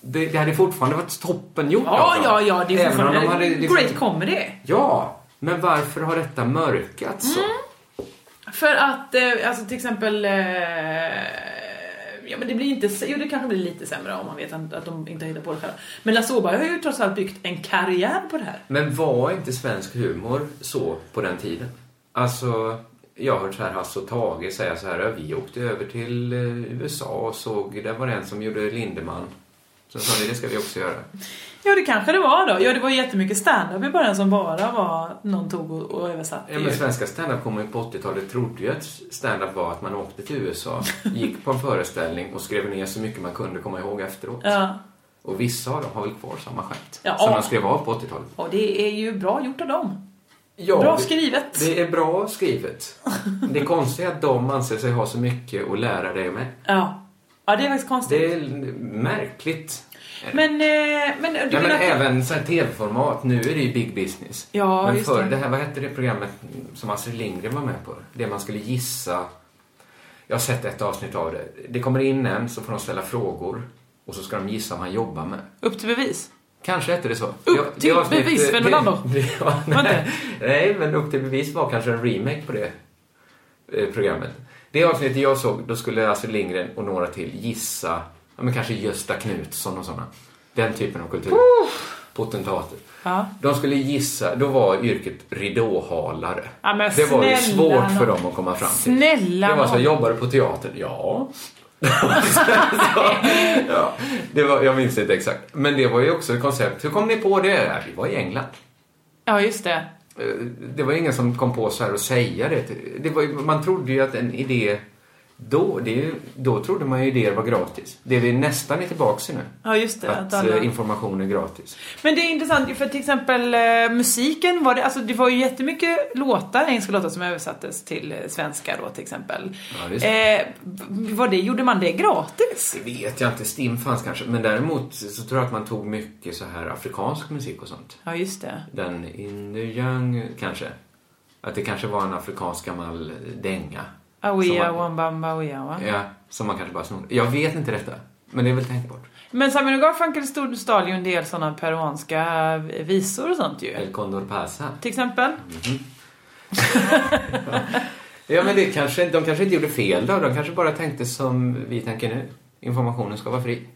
S5: Det, det hade fortfarande varit toppen gjort
S6: Ja, ja, ja, det är
S5: Även om de
S6: fortfarande
S5: hade liksom-
S6: great comedy.
S5: Ja, men varför har detta mörkats
S6: Mm.
S5: så?
S6: För att, eh, alltså till exempel... Eh, ja men det blir inte... s- Jo det kanske blir lite sämre om man vet att att de inte har hittat på det själva. Men Lasse Åberg har ju trots allt byggt en karriär på det här.
S5: Men var inte svensk humor så på den tiden? Alltså, jag har hört så här Hasse och Tage säga så här, "Ja, vi åkte över till eh, USA och såg, där var det en som gjorde Lindemann. Så sa vi, det ska vi också göra.
S6: Ja det kanske det var då. Ja det var jättemycket stand-up i början som bara var någon tog och, och översatte.
S5: Ja,
S6: ju.
S5: men svenska stand-up kommer ju på 80-talet trodde ju att stand-up var att man åkte till
S6: <laughs>
S5: USA, gick på en föreställning och skrev ner så mycket man kunde komma ihåg efteråt.
S6: Ja.
S5: Och vissa av dem har väl kvar samma skämt
S6: Ja.
S5: som man skrev av på 80-talet.
S6: Och det är ju bra gjort av dem.
S5: Ja,
S6: bra
S5: det-
S6: skrivet.
S5: Det är bra skrivet. Det är konstigt att de anser sig ha så mycket att lära dig med.
S6: Ja. ja, det är faktiskt konstigt.
S5: Det är märkligt.
S6: Men, eh, men du
S5: Nej, men
S6: menar...
S5: även så här tv-format, nu är det ju big business.
S6: Ja,
S5: men
S6: just
S5: förr,
S6: det.
S5: det. här, vad hette det programmet som Astrid Lindgren var med på? Det man skulle gissa. Jag har sett ett avsnitt av det. Det kommer in en så får de ställa frågor och så ska de gissa vad han jobbar med.
S6: Upp till bevis.
S5: Kanske hette det så. Upp
S6: till bevis, Sven Melander.
S5: eh, <laughs> ja, nej, nej, men Upp till bevis var kanske en remake på det eh, programmet. Det avsnittet jag såg, då skulle Astrid Lindgren och några till gissa, ja, men kanske Gösta Knutsson och sådana. Den typen av kultur. Potentater.
S6: Ja.
S5: De skulle gissa, då var yrket ridåhalare.
S6: Ja, men
S5: det var ju
S6: snälla
S5: svårt för
S6: nån.
S5: dem att komma fram till.
S6: Snälla
S5: Det var så,
S6: nån.
S5: jobbar du på teatern? Ja. <laughs> ja, det var, jag minns inte exakt. Men det var ju också ett koncept. Hur kom ni på det? Ja, Vi var i England.
S6: Ja, just det.
S5: Eh, Det var ingen som kom på så här och säga det. till- det var, ju- man trodde ju att en idé då, det, är ju- då trodde man ju idéer var gratis. Det vi nästan är tillbaka i nu.
S6: Ja, just det.
S5: Att,
S6: Att alla-
S5: eh, information är gratis.
S6: Men det är intressant ju för till exempel eh, musiken var det, alltså det var ju jättemycket låtar, engelska låtar som översattes till eh, svenska då till exempel.
S5: Ja, just
S6: eh, b- var det, gjorde man det gratis?
S5: Det vet jag inte, Stim fanns kanske. Men däremot så tror jag att man tog mycket så här afrikansk musik och sånt.
S6: Ja, just det.
S5: Den In the Young, kanske. Att det kanske var en afrikansk gammal dänga.
S6: Awea,
S5: Som man-
S6: wambamba, awea, va?
S5: Ja, som man kanske bara snor. Jag vet inte detta, men det är väl tänkbart.
S6: Men Samir Garfunkel stod- stal ju en del sådana peruanska visor och sånt ju.
S5: El Condor Pasa.
S6: Till exempel.
S5: Ja, men det kanske, de kanske inte gjorde fel då. De kanske bara tänkte som vi tänker nu. Informationen ska vara fri.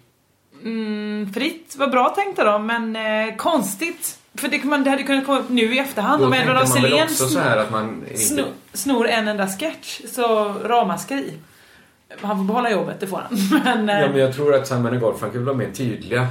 S6: Mm, fritt var bra tänkte de, men eh, konstigt. För det, kan man, det hade kunnat komma upp nu i efterhand.
S5: Då
S6: Om
S5: tänkte
S6: Edward av
S5: man väl
S6: Sillén
S5: också så här att man... Inte,
S6: snor, snor en enda sketch, så ramaskri. Han får behålla jobbet, det får han. <laughs> Men, eh,
S5: ja, men jag tror att Sam och Garfunkel var mer tydliga.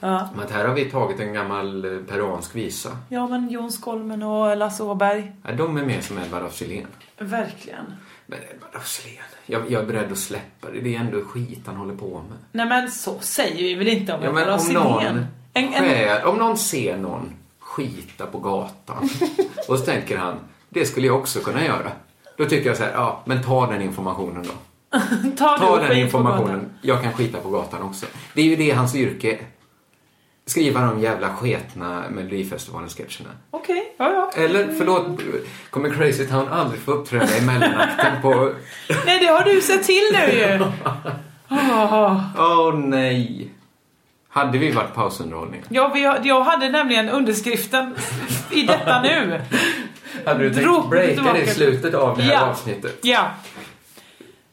S6: ja.
S5: Med att här har vi tagit en gammal eh, peruansk visa.
S6: ja, men Jon Skolmen och Lasse Åberg.
S5: Ja, De är mer som Edvard af Sillén.
S6: Verkligen.
S5: Men Edvard af Sillén, jag, jag är beredd att släppa det. Det är ändå skit han håller på med.
S6: Nej men så säger vi väl inte om
S5: Ja, men
S6: Edward av
S5: om någon,
S6: Sillén. alltså, En- en-
S5: skär, om någon ser någon skita på
S6: <laughs>
S5: gatan och så tänker han, det skulle jag också kunna göra. Då tycker jag så här, ja, men ta den informationen då.
S6: <laughs> Ta, det
S5: Ta den
S6: upp i- på gatan.
S5: informationen, jag kan skita på gatan också. Det är ju det hans yrke är. skriva de jävla sketna Melodifestivalen-sketcherna.
S6: Okej, ja ja.
S5: Eller, förlåt, kommer Crazy Town aldrig få uppträda i mellanakten på...
S6: Nej, det har du sett till
S5: <laughs>
S6: nu ju. Ah.
S5: Åh nej! Hade vi varit pausunderhållning?
S6: Ja, vi, har- jag hade nämligen underskriften i detta nu.
S5: Hade du
S6: Drog
S5: tänkt breaka det
S6: tillbaka.
S5: i slutet av det här
S6: Ja.
S5: avsnittet?
S6: Ja.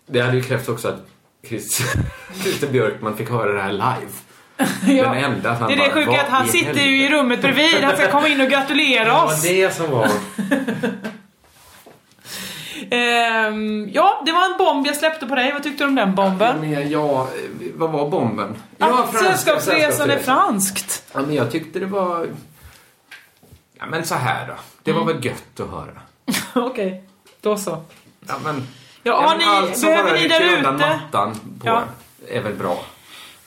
S5: Det hade ju krävts också att Chris, <laughs> Christer Björkman fick höra det här live.
S6: ja.
S5: Den enda att han
S6: Det är det
S5: bara,
S6: sjuka
S5: "Vad
S6: att han
S5: i
S6: sitter
S5: helvete?"
S6: ju i rummet bredvid. Han ska komma in och gratulera
S5: Ja,
S6: oss.
S5: det som var...
S6: Ehm, ja, det var en bomb jag släppte på dig. Vad tyckte du om den bomben?
S5: Men ja, vad var bomben?
S6: Ja,
S5: franska,
S6: Sällskapsresan är
S5: Sällskapsresan.
S6: franskt. <laughs>
S5: Ja, men jag tyckte det var... Ja, men så här då. Det
S6: Mm.
S5: var väl gött att höra.
S6: Okej, då så.
S5: Ja, men...
S6: Ja,
S5: men
S6: har ni-
S5: allt som
S6: behöver
S5: bara
S6: ni där
S5: rycker undan
S6: ute?
S5: mattan på
S6: Ja.
S5: en är väl bra.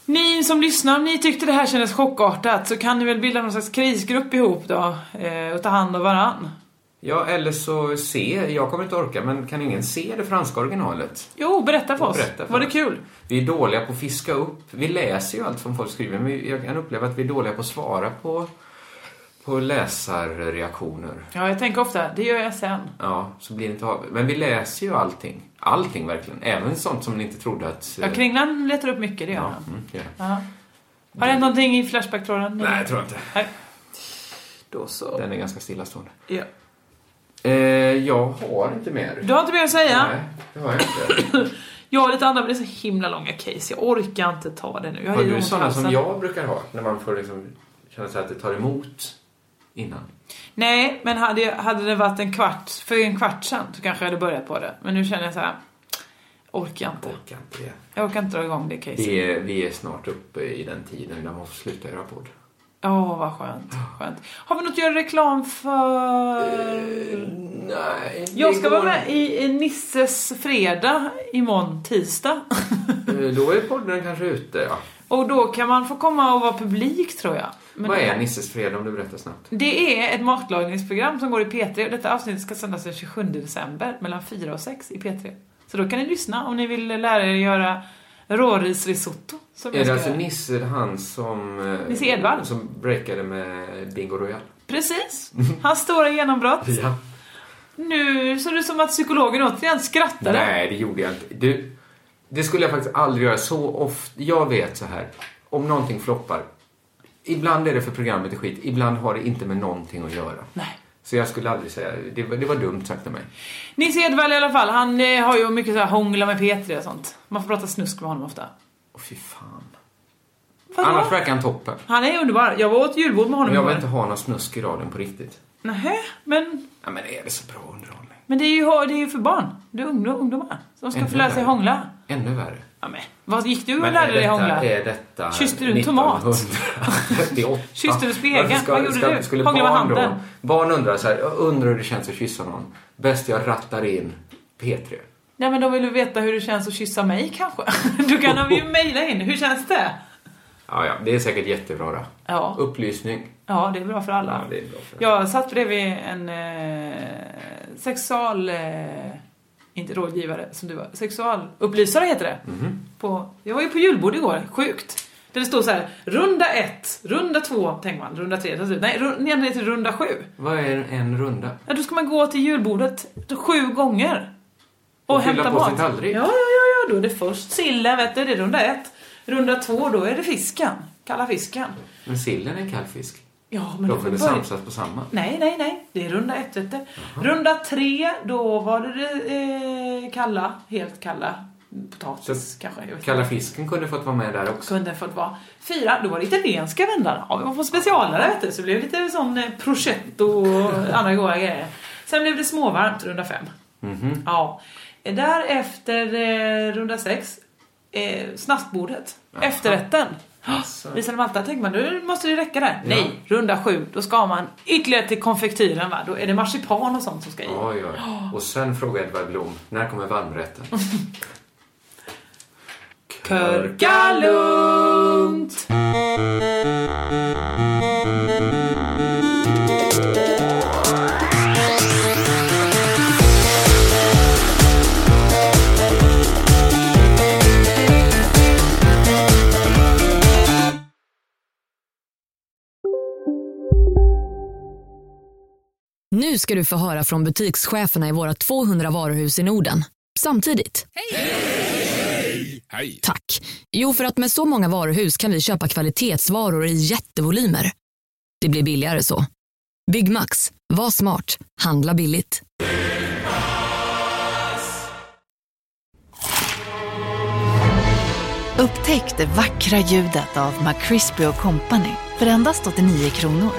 S6: Ni som lyssnar, om ni tyckte det här kändes chockartat så kan ni väl bilda någon slags krisgrupp ihop då eh, och ta hand om varann.
S5: Ja, eller så se. Jag kommer inte orka, men kan ingen se det franska originalet?
S6: Jo, berätta för oss.
S5: Berätta för
S6: Var det
S5: oss.
S6: kul?
S5: Vi är dåliga på att fiska upp. Vi läser ju allt som folk skriver, men jag kan uppleva att vi är dåliga på att svara på, på läsarreaktioner.
S6: Ja, jag tänker ofta, det gör jag sen.
S5: Ja, så blir det inte av. Men vi läser ju allting. Allting verkligen. Även sånt som ni inte trodde att...
S6: Ja, Kringlan letar upp mycket, det gör
S5: Ja,
S6: han.
S5: mm, det gör jag.
S6: Ja. Har det hänt någonting i Flashback-tråden?
S5: Nej, jag tror inte.
S6: Nej. Då så.
S5: Den är ganska stillastående.
S6: Ja.
S5: Eh, jag har inte mer.
S6: Du har inte mer att säga?
S5: Nej, det har jag inte.
S6: Jag har lite andra, men det är så himla långa case. Jag orkar inte ta det nu. Jag
S5: Har
S6: ju
S5: du
S6: ont i
S5: sådana som
S6: halsen.
S5: jag brukar ha? När man får liksom känna sig att det tar emot innan.
S6: Nej, men hade, jag, hade det varit en kvart, för en kvart sedan så kanske jag hade börjat på det. Men nu känner jag så här. Orkar inte.
S5: Orkar inte det.
S6: Jag orkar inte dra igång det caset.
S5: Vi är, vi är snart uppe i den tiden när man får sluta göra podd.
S6: Åh, vad skönt. skönt. Har vi något att göra reklam för?
S5: Eh, Nej.
S6: Jag ska vara med i, i Nisses fredag imorgon tisdag. <laughs>
S5: Eh, Då är podden kanske ute, ja.
S6: och då kan man få komma och vara publik tror jag. Men
S5: Vad är Nisses fredag om du berättar snabbt?
S6: Det är ett matlagningsprogram som går i P3 och detta avsnitt ska sändas den 27 december mellan 4 och 6 i P3. Så då kan ni lyssna om ni vill lära er göra rårisrisotto. Som
S5: Är
S6: jag
S5: det
S6: ska
S5: alltså
S6: göra.
S5: Nisse, han som... eh,
S6: Nisse Edvall.
S5: Som breakade med Bingo Royale?
S6: Precis! Hans stora genombrott.
S5: Mhm. Ja.
S6: Nu såg det ut som att psykologen återigen skrattade.
S5: Nej, det gjorde jag inte. Du, det skulle jag faktiskt aldrig göra så ofta. Jag vet så här, om någonting floppar. Ibland är det för programmet är skit, ibland har det inte med någonting att göra.
S6: Nej.
S5: Så jag skulle aldrig säga, det var, det var dumt sagt av mig.
S6: Nisse Edvall i alla fall, han eh, har ju mycket så här hångla med P3 och sånt. Man får prata snusk med honom ofta.
S5: Åh fy fan.
S6: Vadå?
S5: Annars verkar han toppen.
S6: Han är underbar. Jag var åt julbord med
S5: Men
S6: honom
S5: jag vill
S6: igår.
S5: inte ha någon snusk i radion på riktigt.
S6: Nähä, men,
S5: Ja, men är det så bra underhållning?
S6: men det, är ju, det är ju för barn. Det är ungdom, ungdomar som ska
S5: Ännu
S6: få lära sig
S5: värre.
S6: hångla.
S5: Ännu värre.
S6: Ja, men, vad gick du och
S5: Men
S6: lärde dig hångla?
S5: detta, är detta
S6: Kysste du en tomat? <laughs>
S5: 1938?
S6: Kysste du spegeln?
S5: Varför
S6: Vad gjorde du?
S5: Skulle
S6: Hånglade med
S5: barn, då,
S6: handen?
S5: barn undrar så här, jag undrar hur det känns att kyssa någon. Bäst jag rattar in P3.
S6: Nej men de vill ju veta hur det känns att kyssa mig kanske. <laughs> Då kan de ju mejla in. Hur känns det?
S5: Ja, ja, det är säkert jättebra då.
S6: Ja,
S5: Upplysning.
S6: ja det är bra för alla.
S5: Ja, det är bra för alla.
S6: Jag satt bredvid en eh, sexual... Eh, inte rådgivare som du var. Sexualupplysare heter det.
S5: Mhm.
S6: På, jag var ju på julbord igår. Sjukt. Där det stod så här. Runda ett, runda två, tänker man. Runda tre, runda fyra. Nej, ru- ner till runda sju.
S5: Vad är en runda?
S6: Ja, då ska man gå till julbordet sju gånger. Och,
S5: Och fylla
S6: hämta
S5: på
S6: mat.
S5: sin tallrik.
S6: Ja, ja, ja, ja, då är det först sillen, vet du, det är runda ett. Runda två, då är det fisken. Kalla fisken.
S5: Men sillen är en kall fisk.
S6: Ja, men
S5: De
S6: du får
S5: kunde
S6: börja-
S5: samsas på samma.
S6: Nej, nej, nej. Det är runda ett, vet du. Runda tre, då var det eh, kalla, helt kalla potatis
S5: Så-
S6: kanske. Jag vet
S5: Kalla
S6: inte.
S5: fisken kunde fått vara med där också.
S6: Kunde fått vara. Fyra, då var det italienska vändan. Ja, vi var på specialare vet du. Så det blev lite sån eh, prosciutto och andra goda grejer. Sen blev det småvarmt runda fem. Ja. Eh, Därefter eh, runda sex. Eh, snaskbordet. Efterrätten.
S5: Alltså.
S6: <gasps> Visade Malta, tänker man nu måste det räcka där. Nej, runda sju, då ska man ytterligare till konfektyren va. Då är det marsipan och sånt som ska i.
S5: Oj, oj. Och sen frågade Edvard Blom, när kommer varmrätten?
S6: <laughs> Körka lugnt!
S2: Nu ska du få höra från butikscheferna i våra 200 varuhus i Norden. Samtidigt.
S12: Hej!
S2: Tack. Jo, för att med så många varuhus kan vi köpa kvalitetsvaror i jättevolymer. Det blir billigare så. Byggmax. Var smart. Handla billigt.
S13: Upptäck det vackra ljudet av McCrispy Company för endast 89 kronor.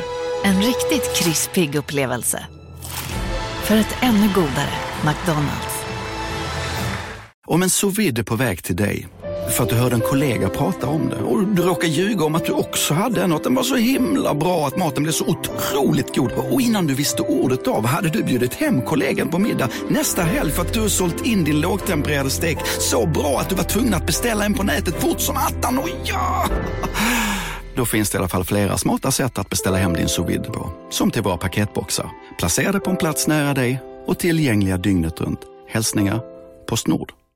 S13: En riktigt krispig upplevelse. För ett ännu godare McDonalds.
S5: Om en sous vide är på väg till dig för att du hörde en kollega prata om det Eh, och du råkade ljuga om att du också hade en och att den var så himla bra att maten blev så otroligt god och innan du visste ordet av hade du bjudit hem kollegan på middag nästa helg för att du sålt in din lågtempererade stek så bra att du var tvungen att beställa en på nätet fort som attan. Och ja! Då finns det i alla fall flera smarta sätt att beställa hem din sous vide på. Som till våra paketboxar. Placerade på en plats nära dig och tillgängliga dygnet runt. Hälsningar Postnord.